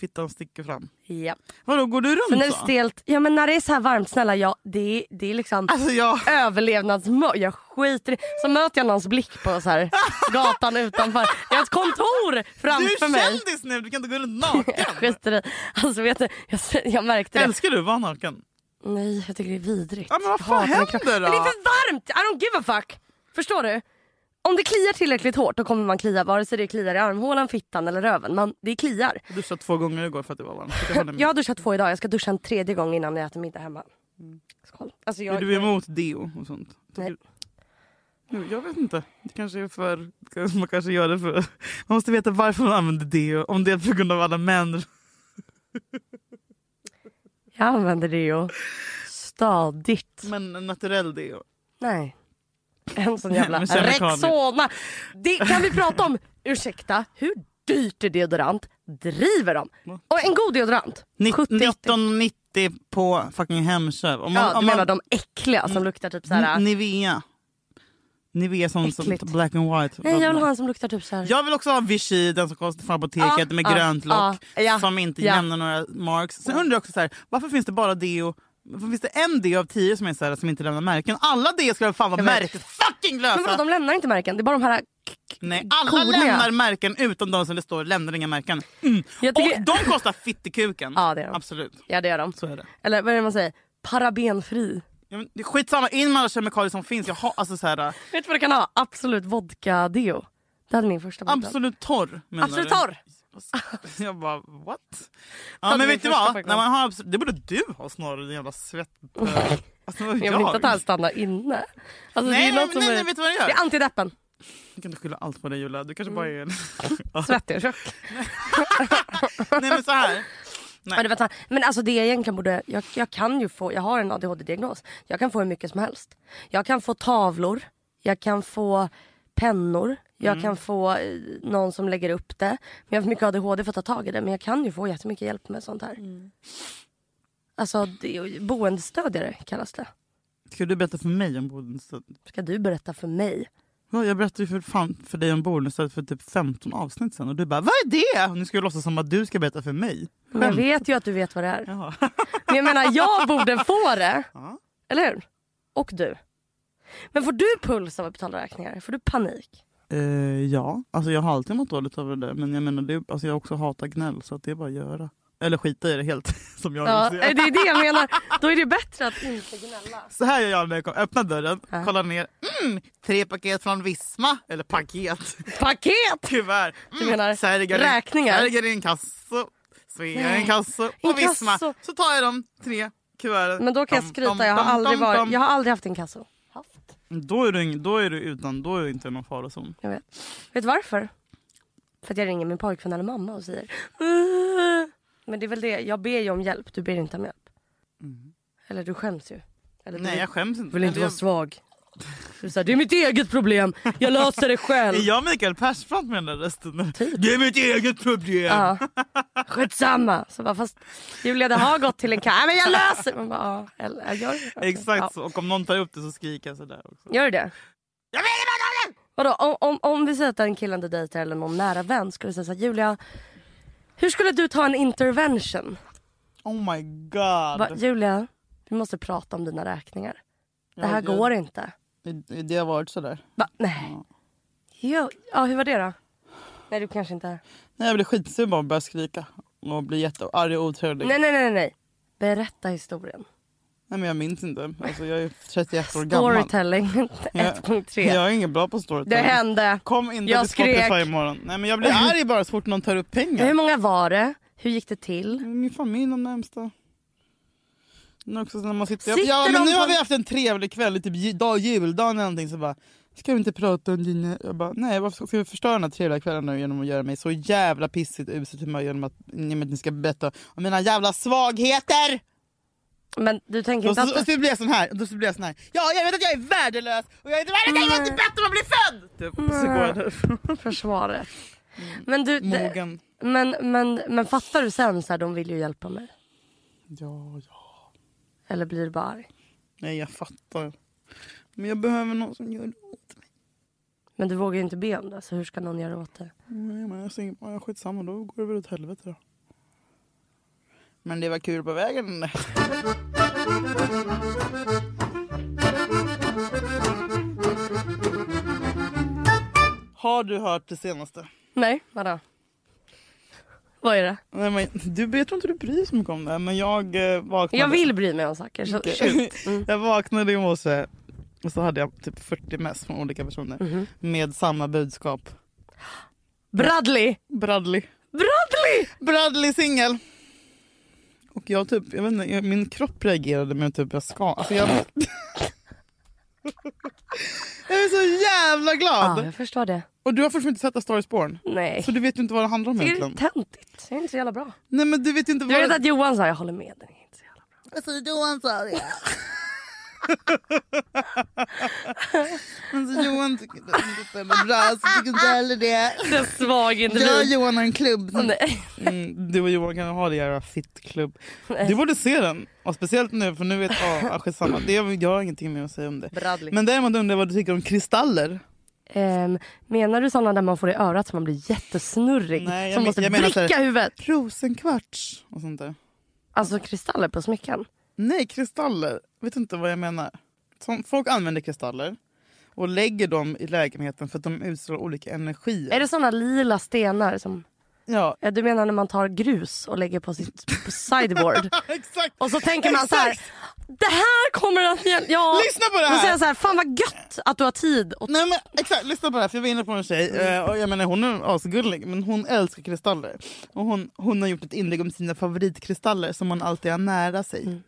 Fittan sticker fram.
Ja.
Vadå, går du
Men
runt
när det är
så?
stelt, ja men när det är så här varmt snälla, ja, det, är- det är liksom
Alltså jag...
överlevnadsmode. Jag skiter i Så möter jag någons blick på så här, gatan utanför. Jag har ett kontor
Du
framför
är
mig.
kändis nu, du kan inte gå runt
[LAUGHS]
naken.
Jag skiter i. Alltså vet du, jag, jag märkte det.
Älskar du att vara naken?
Nej, jag tycker det är vidrigt.
Ja, men vad
Jag
fan
hatar min kropp.
händer då?
Men det är för varmt! I don't give a fuck! Förstår du? Om det kliar tillräckligt hårt då kommer man klia vare sig det kliar i armhålan, fittan eller röven. Man, det kliar.
Jag duschade två gånger igår för att det var varmt. Så jag håller med.
Jag har duschat två idag, jag ska duscha en tredje gång innan jag äter middag hemma. Skål. Alltså
Är
jag,
Mm. du emot deo och sånt? Tycker
Nej.
du- Nu, jag vet inte. Det kanske är för... kanske- Man kanske gör det för... Man måste veta varför man använder deo. Om det är på grund av alla män.
jag använder det ju stadigt.
Men naturell deo.
Nej. En sån
Nej, [LAUGHS]
jävla
men kemikalier.
Rexona. Det kan vi prata om. Ursäkta, hur dyrt är deodorant? Driver de? Och en god deodorant? 70,
1990 på fucking Hemköp. Om
Ja, du
om
menar de äckliga som luktar typ såhär...
N- Nivea. Nivea som, som
Äckligt.
black and white.
Nej jag vill ha en som luktar typ såhär...
Jag vill också ha Vichy, den som kostar från apoteket
Ja,
med
ja,
grönt lock
ja, ja,
som inte
ja. Mm.
lämnar några marks. Sen undrar jag också så här, varför finns det bara deo? Varför finns det en deo av tio som, är så här, som inte lämnar märken? Alla deo skulle fan vara
Jag vet.
märkesfucking
Men vadå
lösa!
de lämnar inte märken, det är bara de här...
Nej, alla
Korniga.
lämnar märken utom de som det står lämnar inga märken. Mm.
Jag tycker-
Och de kostar fittekuken.
Ja, det gör de.
Absolut.
Ja det gör de.
Så är det.
Eller vad är det man säger? Parabenfri.
Ja, men det är skitsamma, in med alla kemikalier som finns. Jag har, alltså, så här,
Vet du vad du kan ha? Absolut vodka deo. Det hade min första botten.
absolut torr menar
Absolut
du?
torr!
[LAUGHS] Jag bara what? Ja,
Hade
men
min
vet du
första
vad?
pojkvän.
När man har, abs- det borde du ha snarare din jävla svettpöl. Alltså, vad
[LAUGHS] Jag vill inte att han stannar inne. Alltså,
Nej,
det är
nej,
något som
nej,
är...
nej, vet du vad jag
Det
gör?
är Mm. antideppen.
Du kan inte skylla allt på dig Julia. Du kanske bara är en...
[LAUGHS] Svettig och tjock.
Nej men så här.
Ja, det var fan- Men alltså det jag egentligen borde, jag, jag kan ju få, jag har en ADHD-diagnos. Jag kan få hur mycket som helst. Jag kan få tavlor, jag kan få pennor, jag kan få eh, någon som lägger upp det. Men jag har för mycket ADHD för att ta tag i det. Men jag kan ju få jättemycket hjälp med sånt här. Alltså det, boendestödjare kallas det.
Ska du berätta för mig om bonusstöd?
Ska du berätta för mig?
Ja, Jag berättade ju för, fan för dig om bonusstöd för typ 15 avsnitt sen och du bara vad är det? Och nu ska jag låtsas som att du ska berätta för mig.
Men jag vet ju att du vet vad det är.
Jaha.
Men jag menar jag borde få det.
Ja.
Eller hur? Och du. Men får du puls av att betala räkningar? Får du panik?
Eh, ja, alltså jag har alltid mått dåligt över det där men jag menar det, alltså jag också hatar gnäll så att det är bara att göra. Eller skita i det helt [LAUGHS] som jag
Ja,
vill
det
se.
är det jag menar. Då är det bättre att inte gnälla.
Så här gör jag när jag kommer. Öppnar dörren,
Ja.
kollar ner. Mm, tre paket från Visma. Eller paket. [LAUGHS] Mm,
Paket!
Kuvert.
Du menar
särger
räkningar?
Särger i en kasso. Svea i
Nej,
en kasso. På
inkasso.
Visma. Så tar jag de tre kuverten.
Men då kan jag
Dam,
skryta,
dam,
jag har
dam,
aldrig,
dam,
varit,
dam.
jag har aldrig haft inkasso. Haft?
Då, är du, ing- då är du utan, då är du inte någon farozon.
Jag vet. Vet du varför? För att jag ringer min pojkvän eller mamma och säger Men det är väl det, jag ber ju om hjälp, du ber inte om hjälp. Eller du skäms ju. Eller, du
Mm. Nej
vill-
jag skäms inte.
vill inte
Eller
vara svag. Du säger, det är mitt eget problem, jag löser det
[LAUGHS]
själv.
jag, är jag Mikael Persbrandt med den där rösten?
Typ.
Det är mitt eget problem.
Ja. Skitsamma. Så bara, fast Julia det har gått till en katt. Nej men jag löser Man bara, ja, eller, jag gör det. Okej.
Exakt
Ja.
så. Och om någon tar upp det så skriker jag sådär också.
Gör du det? Vadå om, om, om vi säger att en kille du dejtar eller någon nära vän skulle säga såhär Julia hur skulle du ta en intervention?
Oh my god.
Bara, Julia vi måste prata om dina räkningar. Det
Ja,
här
det-
går inte.
Det, det har varit sådär.
Bara, nej. Jo, ja hur var det då? Nej du kanske inte
Nej, jag blir skitsur bara och börjar skrika. Och blir jättearg och otrevlig. Nej.
Nej nej nej nej. Berätta historien.
men jag minns inte. Alltså, jag är 31 år gammal.
Storytelling [LAUGHS]
Jag-
1.3.
Jag är ingen bra på
Det
storytelling.
hände.
Kom inte
Jag
till
skrek.
Spotify imorgon. Nej, men jag
[LAUGHS]
blir arg bara så fort någon tar upp pengar. Mm,
Hur många var det? Hur gick det till?
Min familj de närmsta. Men också när man sitter,
Sitter
ja, men
de
nu
på-
har vi haft en trevlig kväll, typ ju- dag, juldagen eller någonting. Så bara, ska vi inte prata om dina... Jag bara, nej varför ska vi förstöra den här trevliga kvällen nu genom att göra mig så jävla pissigt och uselt humör genom att, genom att ni ska berätta om mina jävla svagheter?
Men du tänker
Och
inte
så, och
att...
så blir jag sån här, och då så blir jag sån här. Ja, jag vet att jag är värdelös och jag är värdelös, jag är inte bättre man blir född! Typ. Så går jag därifrån.
[LAUGHS] försvaret. Men, du, det,
Mogen.
men, men, men fattar du sen så här, de vill ju hjälpa mig?
Ja, ja.
Eller blir du bara arg?
Nej, jag fattar. Men jag behöver någon som gör det åt mig.
Men du vågar ju inte be om det, så hur ska någon göra åt det?
Nej, men jag säger, ja, skitsamma, då går det väl åt helvete då. Men det var kul på vägen. Har du hört det senaste?
Nej, vadå? Vad är det?
Nej, men, du, jag tror inte du bryr dig så mycket om det, men jag eh, vaknade.
Jag vill bry mig om saker.
[LAUGHS]
Så,
Okej.
shoot. Mm.
Jag vaknade i morse och så hade jag typ 40 mess från olika personer
Mhm.
med samma budskap.
Bradley!
Bradley.
Bradley!
Bradley singel. Och jag typ, jag vet inte, jag, min kropp reagerade med att typ jag ska. Alltså jag... [LAUGHS] jag är så jävla
Ja,
glad!
jag förstår det.
Och du har fortfarande inte sett A Star is Born.
Nej.
Så du vet ju inte vad det handlar om
Tycker du
egentligen.
det är töntigt? Det är inte så jävla bra.
Nej men du vet ju inte
Jag
vad...
vet att Johan sa jag håller med. Den är inte så jävla bra.
Alltså Johan sa [LAUGHS] det. alltså Johan tycker inte att det är bra, så tycker inte heller det.
Det är svag
Jag och
individ.
Johan har en klubb. som-
[LAUGHS] Nej.
Mm, du och Johan kan ha det jävla fittklubb. Du borde se den. Och speciellt nu för nu vet ah, ah, skitsamma. Det, jag har ingenting mer att säga om det.
Bradley.
Men däremot undrar jag vad du tycker om kristaller?
Ehm, menar du sådana där man får i örat så man blir jättesnurrig?
Nej, jag
som
men-
måste
jag menar så här-
vricka huvudet?
Rosenkvarts och sånt där.
Alltså kristaller på smycken?
Nej, kristaller. Vet inte vad jag menar. Som, folk använder kristaller och lägger dem i lägenheten för att de utstrålar olika energier.
Är det sådana lila stenar som...
Ja, [LAUGHS]
Ja, du menar när man tar grus och lägger på sitt
[LAUGHS]
på sideboard?
exakt.
Och så tänker man så här,
Exakt.
det här kommer att hjälpa. Ja.
Lyssna på det
Då
här.
säger jag så här, fan vad gött att du har tid. Och
Nej men exakt, lyssna på det här för jag var inne på en tjej, eh, och jag menar hon är asgullig men hon älskar kristaller. Och hon, hon har gjort ett inlägg om sina favoritkristaller som hon alltid har nära sig.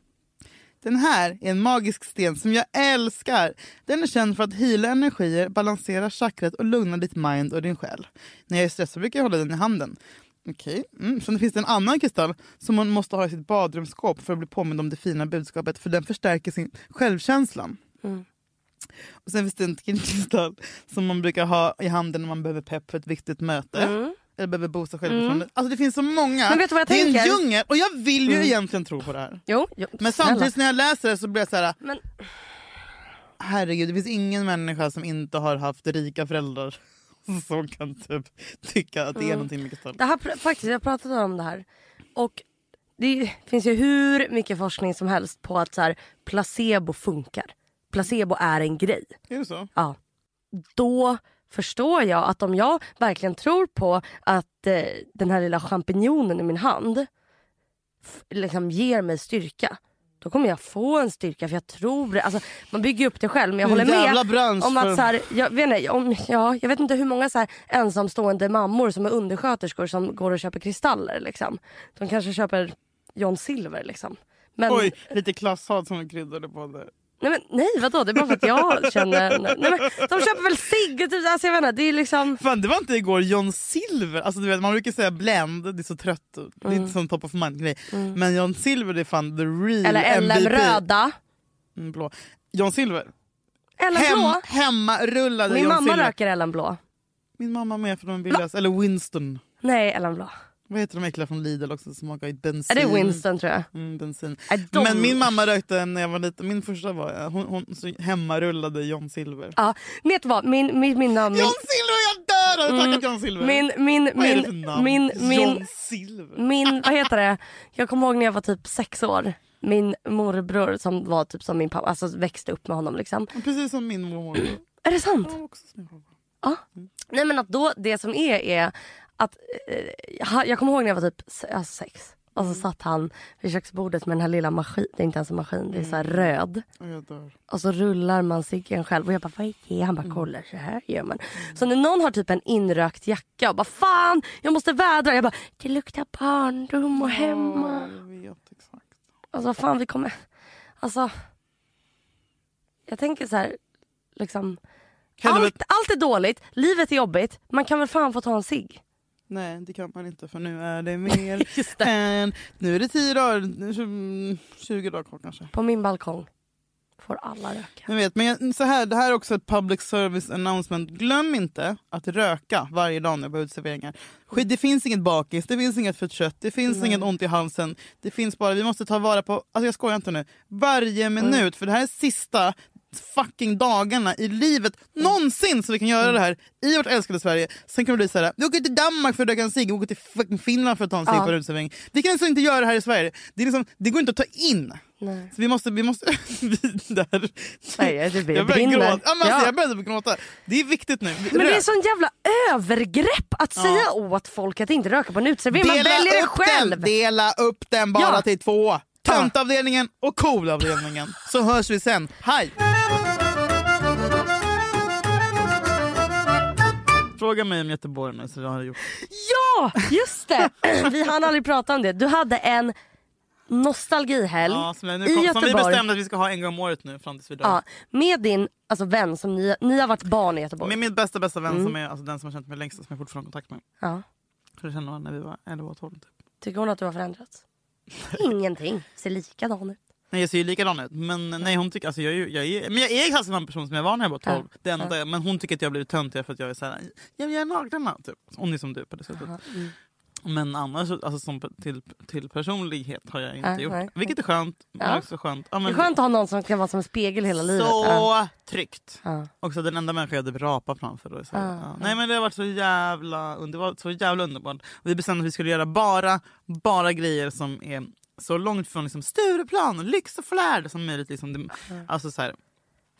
Den här är en magisk sten som jag älskar. Den är känd för att hila energier, balansera chakrat och lugna ditt mind och din själ. När jag är stressad brukar jag hålla den i handen. Okej, mm. sen finns det en annan kristall som man måste ha i sitt badrumsskåp för att bli påmind om det fina budskapet för den förstärker sin självkänslan.
Mm.
Och sen finns det en till kristall som man brukar ha i handen när man behöver pepp för ett viktigt möte. Eller behöver boosta självförtroendet. Alltså det finns så många.
Mm. Men vet du vad jag
det är
tänker? Mm.
en djungel och jag vill ju egentligen tro på det här.
Jo, jo,
Men
snälla.
samtidigt när jag läser det så blir jag så här,
Men,
herregud det finns ingen människa som inte har haft rika föräldrar [LAUGHS] som kan typ tycka att det är
Mm.
någonting med kristall.
det här, pr- faktiskt, jag pratade om det här. Och det finns ju hur mycket forskning som helst på att så här, placebo funkar. Placebo är en grej.
Är det så?
Ja. Då förstår jag att om jag verkligen tror på att eh, den här lilla champinjonen i min hand f- liksom ger mig styrka. Då kommer jag få en styrka för jag tror det. Alltså, man bygger upp det själv men jag
Det är
håller
en jävla
med
bransch
om
för-
att så här, jag, vet inte, om, ja, jag vet inte hur många så här, ensamstående mammor som är undersköterskor som går och köper kristaller. Liksom. De kanske köper John Silver liksom. Men,
Oj, lite klasshat som du kryddade på där.
Nej, men, nej vadå? Det är bara för att
[LAUGHS]
jag känner... Nej, men, de köper väl cigg och typ, alltså, jag vet inte, det är liksom...
Fan det var inte igår John Silver, alltså du vet man brukar säga blend, det är så trött, det är
Mm.
inte sån top of mind grej. Men John Silver det är fan the real
Eller LM
MVP.
röda.
Mm, blå. John Silver.
LM
Hem,
blå.
hemmarullade
Min
John
mamma
Silver.
röker LM blå.
Min mamma med för de vill läsa. Eller Winston.
Nej, LM blå.
Vad heter de äckliga från Lidl också som smakar ju
Är
bensin?
det Winston tror jag?
Mm, bensin.
Nej, de-
Men min mamma rökte när jag var liten. Min första var eh, hon, hon så hemmarullade John Silver.
Ja, vet du vad? Min, min, min, namn- min, Mm.
John Silver, jag dör! Har du tackat John Silver?
min, min,
Vad är det för
min,
namn?
min, min,
John Silver.
min, vad heter det? Jag kommer ihåg när jag var typ sex år. Min morbror som var typ som min pappa, alltså växte upp med honom liksom.
Precis som min mormor.
Är det sant?
Ja, också som min pappa.
Nej men att då, det som är är att, eh, ha- jag kommer ihåg när jag var typ se- alltså sex och så satt han vid köksbordet med den här lilla maskinen, det är inte ens en maskin, det är så här
Mm.
röd.
Och jag dör.
Och så rullar man ciggen själv och jag bara vad är det? Han
Mm.
bara kolla så här gör man. Så när någon har typ en inrökt jacka och bara fan jag måste vädra. Jag bara det luktar barndom och hemma.
Jag vet exakt.
Alltså fan vi kommer, Alltså, jag tänker så här, liksom.
Kan det
Allt,
vara-
allt är dåligt, livet är jobbigt. Man kan väl fan få ta en cigg?
Nej det kan man inte för nu är det [LAUGHS] mer
Just
än... Nu är det 10 dagar, tju- 20 dagar kvar kanske.
På min balkong får alla röka.
Jag vet, men jag, så här, det här är också ett public service announcement. Glöm inte att röka varje dag när på uteserveringar. Skit, Det finns inget bakis, det finns inget fött kött, det finns inget ont i halsen. Det finns bara, vi måste ta vara på, alltså jag skojar inte nu, varje minut. För det här är sista fucking dagarna i livet någonsin så vi kan göra det här i vårt älskade Sverige. Sen kan det bli så här, vi åker till Danmark för att röka en cigg, vi åker till fucking Finland för att ta en cigg
Ja.
på en uteservering. Vi kan alltså inte göra det här i Sverige. Det, är liksom, det går inte att ta in.
Nej.
Så vi måste, vi måste [LAUGHS] vidare.
Nej, jag typ
jag började
brinner.
gråta. Ja, men alltså,
Ja.
Jag började gråta. Det är viktigt nu.
Men det är
Rök.
sån jävla övergrepp att säga åt folk att inte röka på en uteservering. Man väljer det
upp
själv.
Den. Dela upp den bara
Ja.
till två. Töntavdelningen och coolavdelningen. Så hörs vi sen. Hej! Fråga mig om Göteborg nu så jag har gjort
Ja, just det. [CLEARS THROAT] Vi hann aldrig prata om det. Du hade en nostalgihelg
ja, som, jag nu
i
kom, som vi
Göteborg.
bestämde att vi ska ha en gång om året nu fram tills vi dör.
ja, med din alltså, vän som ni, ni har varit barn i Göteborg.
Med min bästa bästa
Mm.
vän som är alltså, den som har känt mig längst och som jag fortfarande har kontakt med.
Ja.
Hur känner man när vi var 11 och 12 typ?
Tycker hon att du har förändrats? Ingenting. Ser likadan ut.
Nej jag ser ju likadan ut. Men nej hon tycker, alltså jag är ju, jag är, men jag är exakt samma person som jag var när jag var 12.
Ja,
Det enda, är- Men hon tycker att jag har blivit töntigare för att jag är såhär, jag gör naglarna typ. Hon är som du på det sättet.
mm.
Men annars, alltså som pe- till, till personlighet har jag inte
Ja,
gjort.
nej.
Vilket är skönt. Men
Ja.
också skönt. Ja,
Det är
men,
skönt att ha någon som kan vara som en spegel hela livet.
så
Ja.
tryggt.
Ja.
Också den enda människan jag hade rapa framför. Då, så,
Ja,
ja. Nej men det har varit så jävla, under- det var så jävla underbart. Vi bestämde att vi skulle göra bara, bara grejer som är så långt från liksom, Stureplan, lyx och flärd som möjligt. Liksom, det, alltså, så här,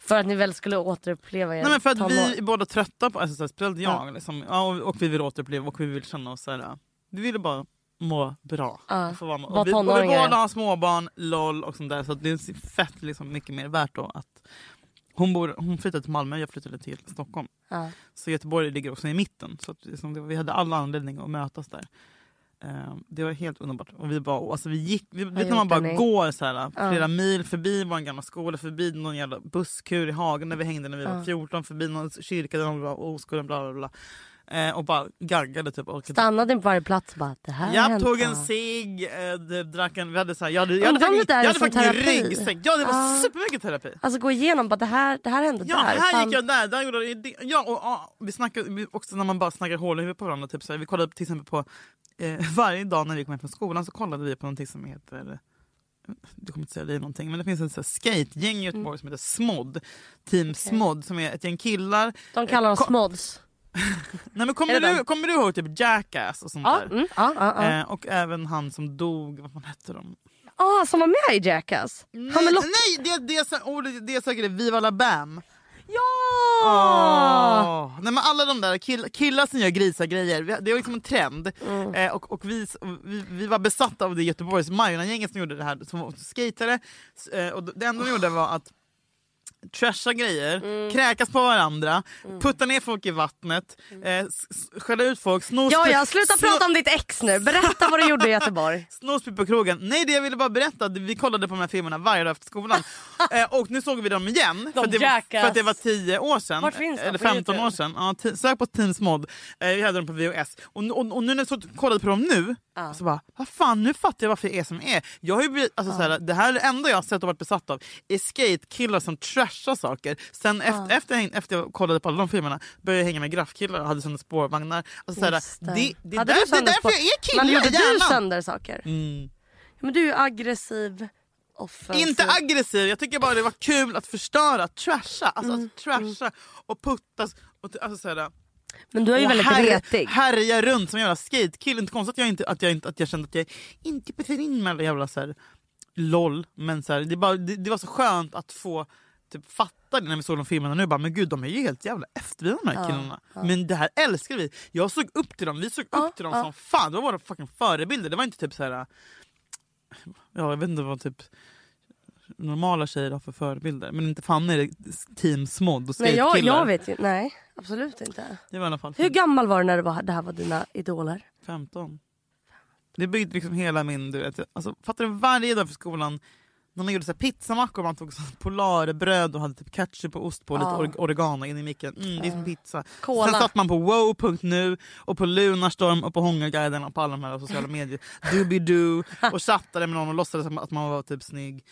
För att ni väl skulle återuppleva er
Nej, men för att
tonår.
vi är båda trötta på alltså, så här, speciellt jag.
Ja.
Liksom, ja, och, och vi vill återuppleva och vi vill känna oss så här. ja. Vi ville bara må bra.
Ja.
Och få vara med. Och
Var
vi, och vi
tonåringar.
båda har småbarn, LOL och sånt där. Så att det är fett liksom, mycket mer värt då att hon, bor, hon flyttade till Malmö och jag flyttade till Stockholm.
Ja.
Så Göteborg ligger också i mitten. Så att, liksom, det, vi hade all anledning att mötas där. Eh, det var helt underbart. Och vi, bara, alltså, vi gick, vi, vet när man
gjorde
bara
ni?
går så här,
Ja.
flera mil förbi vår gamla skola, förbi någon jävla busskur i hagen där vi hängde när vi var
Ja.
14, förbi någon kyrka där de var oskulden, bla bla bla. Eh, och bara gaggade typ. Och
Stannade ni på varje plats och bara det här har
jag
hänt.
tog en
Ja.
cigg, eh, d- drack en... Vi hade så här, jag hade, jag hade
Undrar om
fucking-
det där
jag
är
hade
som
fucking
terapi?
ryggsäck. Ja det var
Ah.
supermycket terapi.
Alltså gå igenom bara det här, det här hände
Ja,
där.
här
Fan,
gick jag där. där gjorde jag det. Ja, och, ja, vi snackade vi- också när man bara snackar hål i huvudet på varandra. Typ, så här, vi kollade till exempel på... Eh, [LAUGHS] varje dag när vi kom hem från skolan så kollade vi på någonting som heter... eh, Du kommer inte säga det någonting, men det finns ett så här skategäng i Göteborg
Mm.
som heter Smod. Team Smod som är ett gäng killar.
De kallar
Ko-
oss mods.
Nej, men
Är
kommer,
det
du,
dem?
kommer du ihåg typ Jackass och sånt
Ja,
där?
mm, ja, ja, ja.
Eh, och även han som dog, vad fan hette de?
Ah, som var med i Jackass? Han
Nej,
med lock...
nej det, det, är så- oh, det, det är säkert Viva La Bam.
Ja!
Åh. Nej, men alla de där kill, killar som gör grisa grejer, vi- det var liksom en trend.
Mm.
Eh, och, och vi, vi, vi var besatta av det Göteborgs Majorna-gänget som gjorde det här, som var skatare. S- Eh, och det enda de gjorde var att trasha grejer,
Mm.
kräkas på varandra, putta ner folk i vattnet, eh, s- s- skälla ut folk, sno
Mm. Ja,
sprit-
ja, sluta
sno-
prata om ditt ex nu. Berätta vad du gjorde i Göteborg.
Snospip på krogen. Nej, det jag ville bara berätta. att Vi kollade på de här filmerna varje dag efter
[LAUGHS]
skolan. eh, och nu såg vi dem igen. för, att det, var-
Jackass.
för att det var 10 år sedan.
Vart finns de?
Eller
På
15
YouTube?
år sedan. Ja, ti- sök på Teens Mod. Eh, vi hade dem på VHS. Och, nu- och, och nu när jag så kollade på dem nu, så bara, vad fan, nu fattar jag varför jag är som jag är. Jag har ju blivit, alltså, såhär, det här är det enda jag har sett och varit besatt av. Är skatekillar som trashar saker. Sen efter, efter, jag häng- efter jag kollade på alla de filmerna började jag hänga med graffkillar och hade sönder spårvagnar. Alltså, [LAUGHS] såhär,
Just
det, det, det, är
Hade
där,
du
det är
sönder
därför
spår-
jag är kille
Men gjorde
i
du
hjärnan.
sönder saker?
Mm.
Men du är ju aggressiv, offensiv.
Inte aggressiv, jag tycker bara det var kul att förstöra, trasha, alltså att trasha och puttas. Och, t- alltså, såhär,
Men du är ju
och
väldigt
här,
retig.
härja runt som en jävla skatekill. Inte konstigt att jag, inte, att jag, inte, att jag kände att jag inte passade in med alla jävla såhär, LOL. Men såhär, det, bara, det, det var så skönt att få typ, fatta det när vi såg de filmerna nu. Bara, men gud de är ju helt jävla efterblivna de här killarna. Men det här älskar vi. Jag såg upp till dem, vi såg upp till dem som fan. Det var våra fucking förebilder. Det var inte typ såhär ja, jag vet inte vad typ normala tjejer har för förebilder. Men inte fan är det team smod och
Nej, jag, jag
skatekillar.
vet ju. Nej, absolut inte.
Det var i alla fall
Hur gammal var du när det, var, det här var dina idoler?
15. Det byggde liksom hela min... Du vet, alltså, fattar du, varje dag för skolan när man gjorde så här pizzamackor, man tog så här polarbröd och hade typ ketchup och ost på och lite
Ja.
or- oregano in i micken. Mm, det är som pizza.
Cola.
Sen satt man på wow.nu och på Lunarstorm och på Hångaguiden och på alla de här
[LAUGHS]
sociala medier. Doobidoo och chattade med någon och låtsades som att man var typ snygg.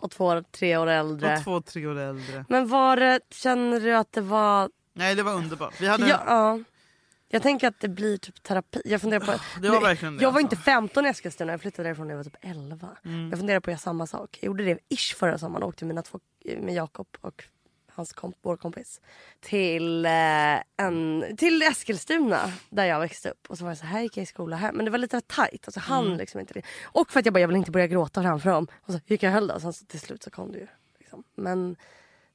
Och två, tre år äldre.
Och två, tre år äldre.
Men var det, känner du att det var...
Nej det var underbart. Vi hade
Ja, ja. Jag tänker att det blir typ terapi. Jag funderar på...
Det var verkligen det,
Jag var
alltså. Mm.
inte 15 i Eskilstuna, jag flyttade därifrån när jag var typ 11. Jag funderar på att göra samma sak. Jag gjorde det ish förra sommaren, åkte mina två, med Jakob och hans komp, vår kompis till, eh, en, till Eskilstuna där jag växte upp. Och så var det så här gick jag i skola här. Men det var lite tajt. Alltså, han
Mm.
liksom inte det. Och för att jag bara, jag vill inte börja gråta framför dem. Och så gick jag och höll det. Och sen så, till slut så kom det ju. Liksom. Men,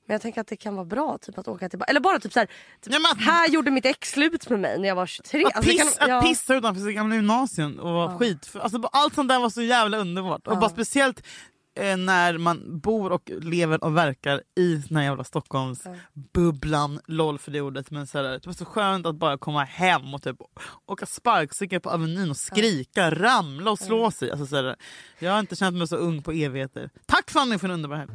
men jag tänker att det kan vara bra typ, att åka tillbaka. Eller bara typ så här. Typ,
Ja, men att-
här gjorde mitt ex slut med mig när jag var
Att,
23. Alltså, det
piss,
kan-
att
ja.
pissa utanför sitt gamla gymnasium och vara skit. Alltså, bara allt sånt där var så jävla underbart. Och bara speciellt eh, när man bor och lever och verkar i den här jävla Stockholmsbubblan. LOL för det ordet. Men så här, det var så skönt att bara komma hem och typ åka sparkcykel på Avenyn och skrika, ramla och slå sig. Alltså, så här, jag har inte känt mig så ung på evigheter. Tack Fanny för en underbar helg.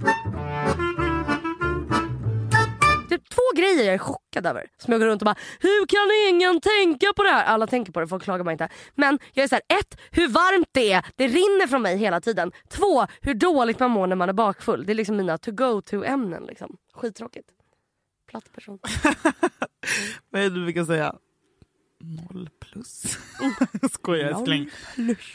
Det är Typ två grejer jag är chockad över. Som jag går runt och bara, hur kan ingen tänka på det här? Alla tänker på det, folk klagar bara inte. Men jag är så här, ett, hur varmt det är. Det rinner från mig hela tiden. Två, hur dåligt man mår när man är bakfull. Det är liksom mina to go to ämnen. Liksom. Skittråkigt. Platt person.
Vad är det du brukar säga? Noll plus. [LAUGHS] Skojar älskling.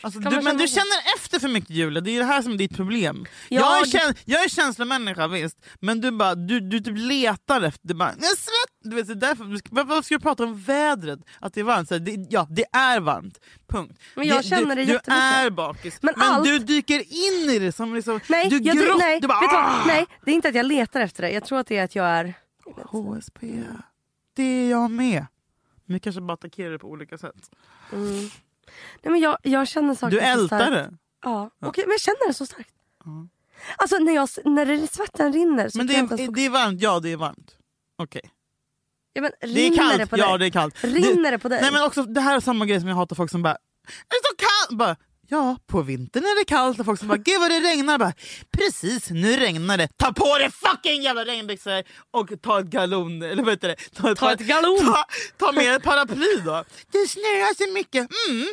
Alltså,
Kan
du,
man
men du
känna så?
känner efter för mycket Julia, det är det här som är ditt problem.
Ja,
jag, är
det-
käns- jag är känslomänniska visst, men du bara, du, du typ letar efter, du bara, jag är svett. Du vet, det är därför, varför varför ska du prata om vädret? Att det är varmt? Så här, det, ja, det är varmt. Punkt.
Men jag
det,
känner
du,
det
Du
jättemycket.
är bakis, men,
Men allt-
du dyker in i det som liksom,
Nej,
du
jag, dri-
grott-
nej,
du bara,
vet du
"Ah!"
vad? nej, det är inte att jag letar efter det. Jag tror att det är att jag är...
HSP. Det är jag med. Men vi kanske bara attackerar det på olika sätt.
Nej, men jag, jag känner saker
Mm. Du
så starkt.
ältar det.
Ja, okej, men jag känner det så starkt. Alltså när, jag, när det, svetten rinner så
Men det
kan jag inte ens
är, det är varmt, ja det är varmt. Okej.
Ja, men
Det är
rinner
kallt,
det på
ja
dig?
det är kallt.
Rinner det,
det
på dig?
Nej men också, det här är samma grej som jag hatar folk som bara Är det så kallt? Bara, ja, på vintern är det kallt. Och folk som bara gud vad det regnar. Bara, Precis, nu regnar det. Ta på dig fucking jävla regnbyxor och ta ett galon, eller vad heter det? Ta ett,
Ta ett galon.
Ta, ta med ett paraply då. Det snöar så mycket. Mm.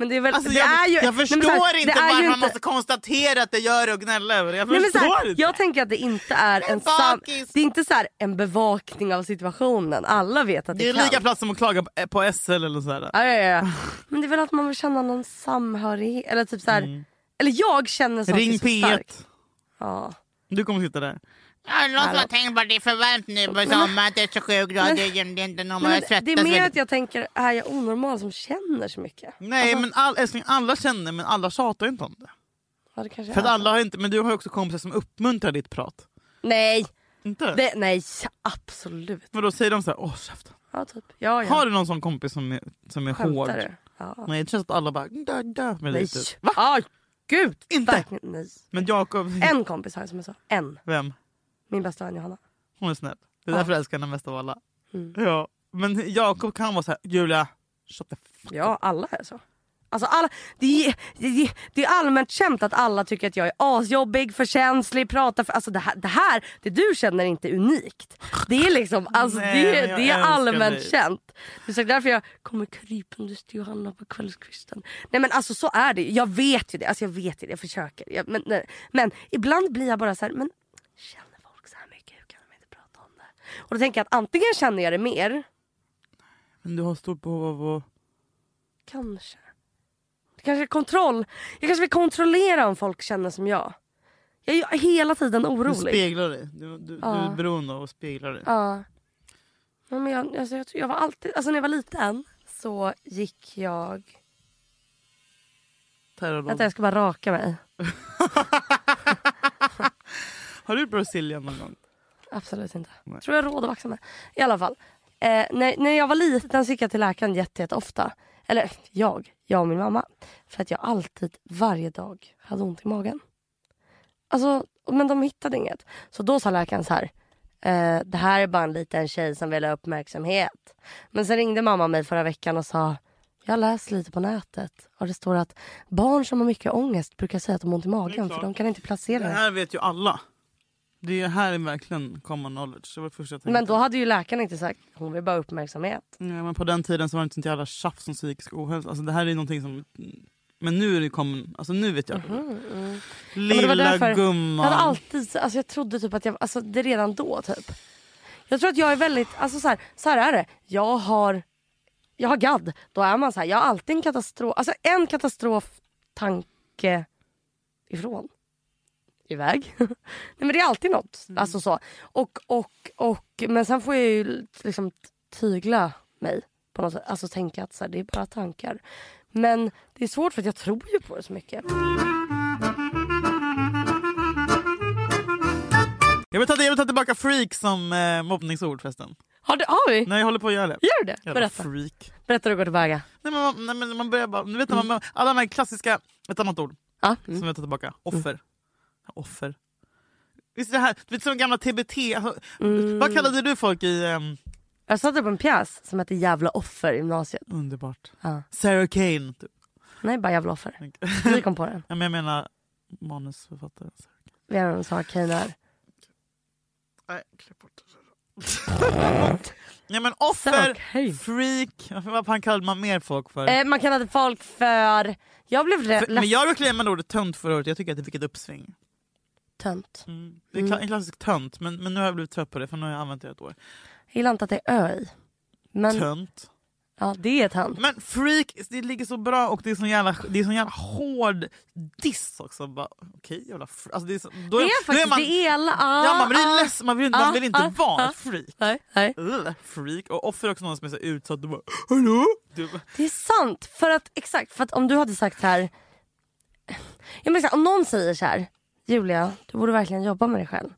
Men det är väl,
Alltså,
det
jag,
är ju,
jag
Nej, men så
förstår
här, det
inte
är ju
varför man
inte-
måste konstatera att det gör det och gnälla över det. Jag
Nej, men så
förstår
här,
inte.
jag tänker att det inte är en sam,
bakis.
Det är inte så här en bevakning av situationen. Alla vet att det,
Det är lika
kallt.
plats som att klaga på- på SL eller så här.
Ja, ja, ja. Men det är väl att man vill känna någon samhörighet. Eller typ så här, Eller jag känner saker
Mm. Ring
så
P1.
starkt. Ja.
Du kommer sitta där.
Någon som har tänkt på att det är för varmt nu på sommaren. Det är 27 grader. Det är inte någon
Nej,
har
men det är
svettas
mer
väldigt.
att jag tänker, är jag onormal som känner så mycket?
Nej men all, älskling, alla känner men alla tjatar ju inte om det.
Ja, det kanske
För att
är.
alla har inte, men du har ju också kompisar som uppmuntrar ditt prat.
Nej,
Inte?
det, nej absolut.
Men då säger de så här, åh käften.
Ja, typ. Ja, ja.
Har du någon sån kompis som är, som är hård?
Skämtar du? Ja.
Nej det känns att alla bara dö, dö med
Nej.
dig typ.
Va? Ah, gud.
Inte.
Verkligen, nej.
Men Jakob,
En kompis har jag som jag sa. En.
vem?
Min bästa vän Johanna.
Hon är snäll. Det är därför jag älskar henne mest av alla.
Mm.
Ja. Men Jakob kan vara så här, Julia, shut the fuck
Ja, alla är så. Alltså alla, det, är- det, är- det är allmänt känt att alla tycker att jag är asjobbig, för känslig, pratar för... Alltså det här, det här, det du känner är inte unikt. Det är liksom, alltså
Nej,
det,
men jag
det är
älskar
allmänt
dig.
känt. Det är så därför jag kommer krypandes till Johanna på kvällskvisten. Nej men alltså så är det ju. Jag vet ju det. Alltså jag vet ju det, jag försöker. Jag, men, nej. men ibland blir jag bara så här, men känner folk så här mycket? Hur kan de inte prata om det? Och då tänker jag att antingen känner jag det mer,
Men du har stort behov av att...
Kanske. Det kanske är kontroll. Jag kanske vill kontrollera om folk känner som jag. Jag är ju hela tiden
Du
orolig.
speglar dig. Du, du, du
Ja.
är beroende av att spegla dig.
Ja. Nej, Men jag, alltså, jag, tror- jag var alltid, alltså när jag var liten så gick jag...
Terrorlåda.
Vänta jag ska bara raka mig.
Har du Brazilian någon gång?
Absolut inte. Tror jag har råd att vaxa mig. I alla fall. Eh, när, när jag var liten så gick jag till läkaren jätte, jätte ofta. Eller jag, jag och min mamma. För att jag alltid, varje dag, hade ont i magen. Alltså, men de hittade inget. Så då sa läkaren så här. Eh, det här är bara en liten tjej som vill ha uppmärksamhet. Men sen ringde mamma mig förra veckan och sa Jag har läst lite på nätet och det står att barn som har mycket ångest brukar säga att de har ont i magen för de kan inte placera
Det
det.
här vet ju alla. Det är här är verkligen common knowledge. Det var det första jag tänkte.
Men då hade ju läkaren inte sagt hon vill bara ha uppmärksamhet.
Ja, men på den tiden så var det inte sånt jävla tjafs om psykisk ohälsa. Alltså, det här är någonting som... Men nu är det common... Alltså nu vet jag.
Mhm, mm. Ja, men
Lilla
det var därför
gumman.
Jag, hade alltid, alltså jag trodde typ att jag, alltså det redan då typ. Jag tror att jag är väldigt, alltså så här, så här är det. Jag har, jag har gadd. Då är man så här, jag har alltid en katastrof, alltså en katastroftanke ifrån. Iväg. [LAUGHS] Nej men det är alltid något.
Mm.
Alltså så. Och, och, och, men sen får jag ju liksom tygla mig på något sätt. Alltså tänka att så här, det är bara tankar. Men det är svårt för att jag tror ju på det så mycket.
Jag vill ta, jag vill ta tillbaka freak som eh, mobbningsord förresten.
Har, det, har vi?
Nej jag håller på att göra det.
Gör det?
Jävla
Berätta.
freak.
Berätta hur det går tillväga.
Nej men, man- nej, men man börjar bara... Nu vet man,
Mm.
man, alla de här klassiska... Ett annat ord
Ja.
som jag tar
Mm.
tillbaka. Offer. Offer. Visst är det här... Du vet som gamla TBT. Alltså,
Mm.
Vad kallade du folk i... ehm,
Jag satte upp en pjäs som hette Jävla offer i gymnasiet.
Underbart.
Ja.
Sarah Kane. Typ.
Nej, bara Jävla offer. Vi kom på den.
Ja, men jag menar manusförfattare.
Vi är en sak Kane är.
Nej, klipp bort det. Ja, men offer,
Sarah Kane.
freak, vad fan- vad kallade man mer folk för?
Eh, man kallade folk för... Jag blev rädd
för men jag brukade använda ordet tönt förra året, jag tycker att det fick ett uppsving.
tönt.
Mm. Det är kla- en klassisk tönt, men, men nu har jag blivit trött på det för nu har jag använt det ett år.
Jag gillar inte att det är ö i. Men
Tönt.
ja, det är tönt.
Men freak, det ligger så bra och det är sån jävla, det är sån jävla hård diss också. Bara, Okej jävla fr- alltså det är, så, då
Det
då
är faktiskt, det är alla... Ah,
Ja, man
ah.
blir ledsen, man vill,
ah,
man vill inte
ah,
vara
ah.
ett freak.
Nej, nej.
Ugh, freak. Och offer är också någon som är så utsatt. Du bara, Hallå? Du bara,
Det är sant. För att, exakt, för att om du hade sagt så här... Jag menar, så här, om någon säger så här, Julia, du borde verkligen jobba med dig själv.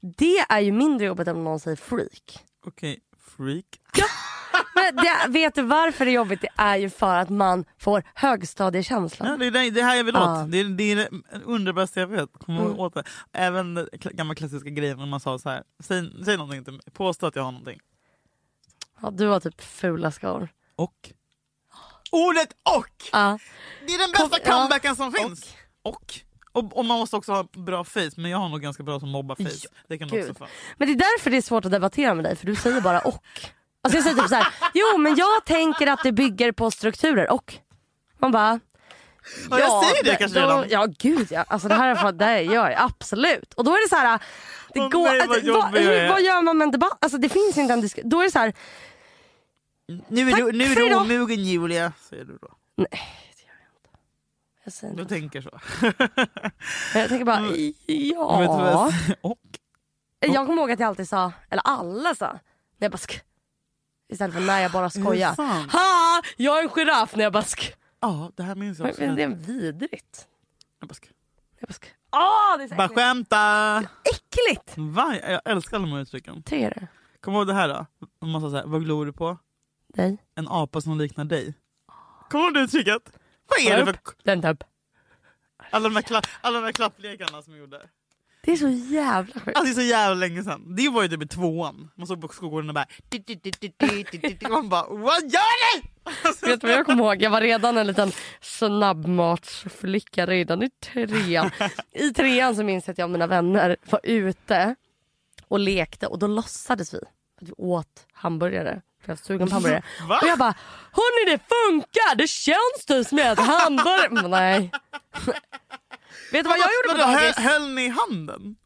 Det är ju mindre jobbigt än om någon säger freak.
Okej, freak.
Men det, vet du varför det är jobbigt? Det är ju för att man får högstadiekänslan.
Ja, det, är det, det här jag vill åt.
Ah.
Det, är, det är det underbästa jag vet. Kommer
Mm.
åt det. Även den kla- gamla klassiska grejen när man sa så här. Säg, säg någonting till mig. Påstå att jag har någonting.
Ja, du har typ fula skor.
Och? Ordet och!
Ja.
Det är den bästa
Kom- ja.
comebacken som finns. Och. och. Och man måste också ha bra face. Men jag har nog ganska bra som mobbar-face. Det kan du också
Gud.
få.
Men det är därför det är svårt att debattera med dig, för du säger bara och. Alltså jag säger typ så här, jo men jag tänker att det bygger på strukturer och. Man bara,
Ja, jag säger det
d-
kanske
då,
redan.
Ja gud ja, alltså det här är fan, det här gör jag absolut. Och då är det så här, det
Åh,
går,
nej, vad
alltså, vad,
jobbig jag
hur,
är.
vad gör man med en debatt? Alltså det finns inte en diskussion. Då är det så här,
Nu är
Tack
du, nu är
för
du
idag.
omogen Julia, säger du då.
jag, säger
Du
inte.
tänker så.
jag tänker bara, ja.
Vet du vad jag säger? [LAUGHS] och?
Jag kommer ihåg att jag alltid sa, eller alla sa, när jag bara sk. Istället för när jag bara skojar.
sant?
Ha! Jag är en giraff när jag bara sk.
Ja, det här minns jag
Men,
också.
men det är vidrigt.
Jag bara ska-
Jag bara sk. Åh, det är så
Bara
äckligt.
skämta!
äckligt!
Va? Jag älskar alla de här uttrycken.
Tycker du?
Kom ihåg det här då. Om Man sa så här, vad glor du på?
Nej.
En apa som liknar dig. Kommer du ihåg det uttrycket? Vad är det för...
Den tupp.
Alla de här, kla... alla de här klapplekarna som vi gjorde.
Det är så jävla sjukt.
Alltså det är så jävla länge sedan. Det var ju typ i tvåan. Man såg på skolgården och bara... "Ti, ti, ti, ti, ti, ti, ti, ti." Man bara, vad gör ni? Alltså,
Vet du vad jag kommer ihåg? Jag var redan en liten snabbmatsflicka redan i trean. I trean så minns jag att jag och mina vänner var ute och lekte och då låtsades vi att vi åt hamburgare. För jag var sugen på hamburgare.
Va?
Och jag bara, hörni det funkar! Det känns typ som ett hamburgare. Men nej. Vet du vad jag gjorde på
Vadå,
dagis? Mm,
hö- Höll ni i handen?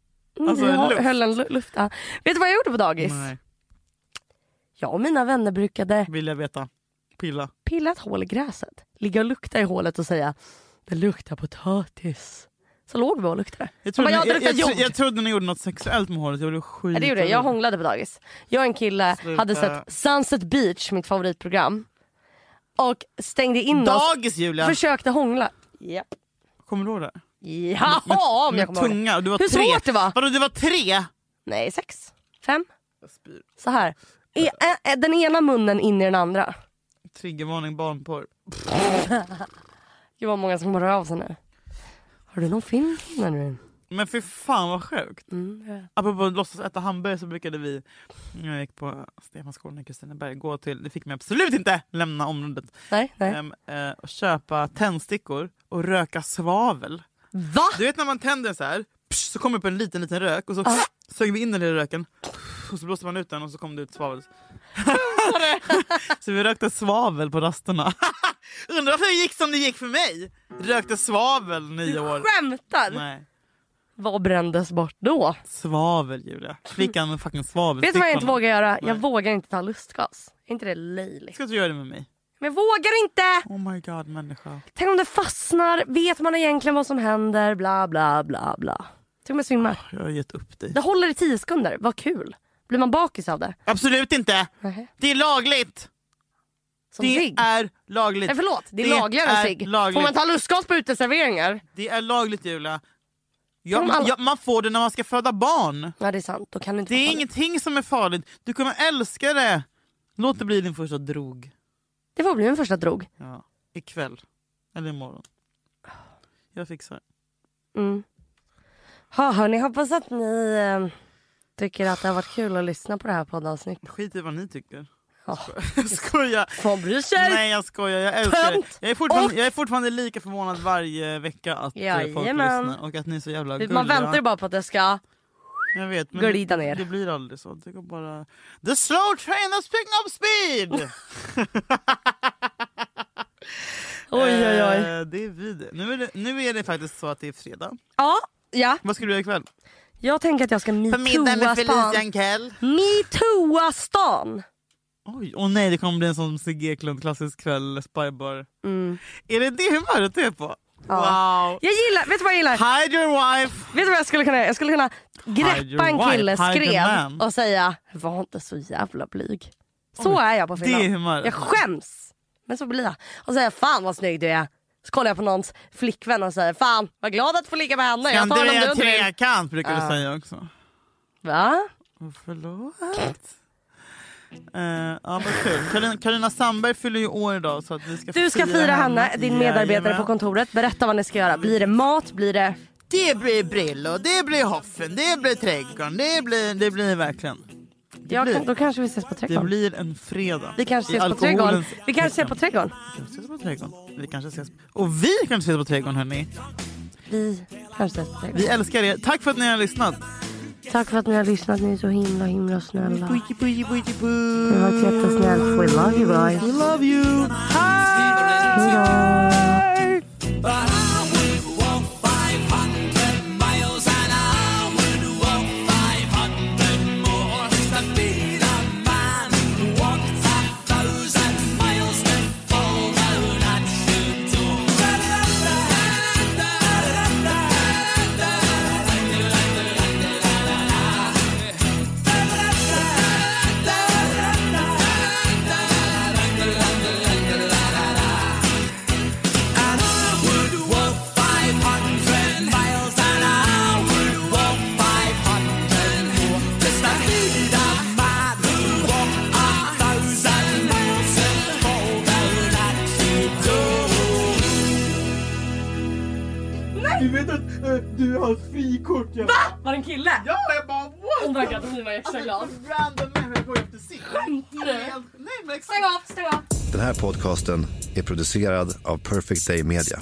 alltså,
jag
luft?
höll en lu- luft. Ja. Vet du vad jag gjorde på dagis?
Nej,
Jag och mina vänner brukade
vill jag veta. Pilla.
pilla ett hål i gräset, ligga och lukta i hålet och säga det luktar potatis. Så låg vi och luktade.
Jag
Han
trodde,
bara, ja,
ni,
det
jag,
luktar
jag, tro-
jord.
jag trodde ni gjorde något sexuellt med håret. Jag blev skit.
Nej, det gjorde jag. Jag hånglade på dagis. Jag och en kille
Sluta.
hade sett Sunset Beach, mitt favoritprogram. Och stängde in oss,
Dagis Julia!
försökte hångla. Japp.
Kommer du ihåg det?
Jaha om
Med
jag kommer ihåg det.
tunga. Du var
Hur
tre.
svårt det var.
Vadå du var tre?
Nej, sex, fem, så här. E- ä- ä- den ena munnen in i den andra.
Triggervarning barnporr.
Gud vad många som hör av sig nu. Har du någon film? Nej, nu?
Men för fan vad sjukt.
Mm, jag vet.
Apropå att låtsas äta hamburgare så brukade vi, när jag gick på Stefanskolan i Kristineberg, gå till, det fick man absolut inte lämna området,
nej, nej.
ehm, eh, och köpa tändstickor och röka svavel.
Va?
Du vet när man tänder så här, psh, så kommer det upp en liten liten rök och så
Ja.
sög vi in den i röken och så blåste man ut den och så kom det ut
[LAUGHS]
svavel. så vi rökte svavel på rasterna. [LAUGHS] Undrar varför det gick som det gick för mig? Rökte svavel
Du
nio år.
skämtar?
Nej.
Vad brändes bort då?
Svavel Julia. Fick han en fucking svavel.
Vet du vad jag inte
Stickorna.
vågar göra?
Nej.
Jag vågar inte ta lustgas. Är inte det löjligt?
Ska du göra det med mig?
Men jag vågar inte!
Oh my god människa.
Tänk om det fastnar, vet man egentligen vad som händer, bla bla bla bla. Tänk om jag svimmar.
Jag har gett upp dig.
Det håller i tio sekunder, vad kul. Blir man bakis av det?
Absolut inte!
Nej.
Det är lagligt!
Som
det
cigg?
är lagligt.
Nej förlåt, det är
Det
lagligare än
är
cigg.
lagligt.
Får man ta lustgas på uteserveringar?
Det är lagligt Julia.
Kan
Ja,
de alla-
ja, man får det när man ska föda barn.
Ja det är sant, då kan du inte
Det
få
är
ta
ingenting som är farligt. Du kommer älska det. Låt det bli din första drog.
det får bli min första drog.
Ja. Ikväll. Eller imorgon. Jag fixar det.
Mm. Ha, hörni, hoppas att ni eh, tycker att det har varit kul att lyssna på det här poddavsnittet.
Skit i vad ni tycker. [LAUGHS]
Ja.
Jag skojar.
Fan bryr sig?
Nej jag skojar, jag älskar det.
Tönt!
Jag är, fortfarande,
Och-
jag är fortfarande lika förvånad varje vecka att eh, folk
Jajamän.
lyssnar och att ni är så jävla gulliga.
Man väntar ju bara på att det ska...
Jag vet, men
glida ner.
Det blir aldrig så. Det går bara... The slow train is picking up speed!
[LAUGHS] Oj oj oj.
Eh, det är vid. Nu, är det, nu är det faktiskt så att det är fredag.
Ja, ja.
Vad ska du göra ikväll?
Jag tänker att jag ska metooa stan.
Kell.
Metooa stan!
Oj, åh nej det kommer bli en sån Sigge Eklund klassisk kväll, spybar.
Mm.
Är det det humöret du är på? Wow!
Jag gillar, vet du vad jag gillar?
Hide your wife!
Vet du vad jag skulle kunna göra? Jag skulle kunna
Hide your
greppa en
wife,
kille,
hide your
skrev
man.
och säga var inte så jävla blyg. Så är jag på
det
fyllan.
är humöret.
Jag skäms. Men så blir jag. Och säger fan vad snygg du är. Så kollar jag på någons flickvän och säger fan vad glad att få ligga med henne.
Kan
Jag
du
tar henne om
är
du
en
inte vill.
trekant brukar
Ja.
du säga också.
Va?
Åh, Förlåt. Eh, ja, vad kul. Karolina- Karolina Sandberg fyller ju år idag. Så att vi ska
Du ska fira henne, din medarbetare på
Jajamän.
kontoret. Berätta vad ni ska göra. Blir det mat? Blir det...
Det blir Brillo, det blir Hoffen, det blir Trädgården, det blir, det blir verkligen. Det,
Ja,
blir,
kan, då kanske vi ses på
det
trädgården.
blir en fredag.
Vi kanske
I
ses på trädgården.
alkoholens
Vi kanske ses på
tecken.
trädgården.
Vi kanske ses på trädgården. Vi kanske ses Och vi kanske ses på trädgården hörni.
Vi kanske ses på trädgården.
Vi älskar er. Tack för att ni har lyssnat.
Tack för att ni har lyssnat. Ni är så himla himla snälla.
Puji, puji, puji, puj.
Det var jättesnällt. We love you guys.
We love you. Hej! Du vet att eh, du har frikort. Jag,
Var det en kille?
ja, jag bara what?
Oh my god, nu var jag extra glad.
Alltså, random människor går efter sitt.
Skämtar du?
Helt- Nej men exakt.
Stäng av, stäng av.
Den här podcasten är producerad av Perfect Day Media.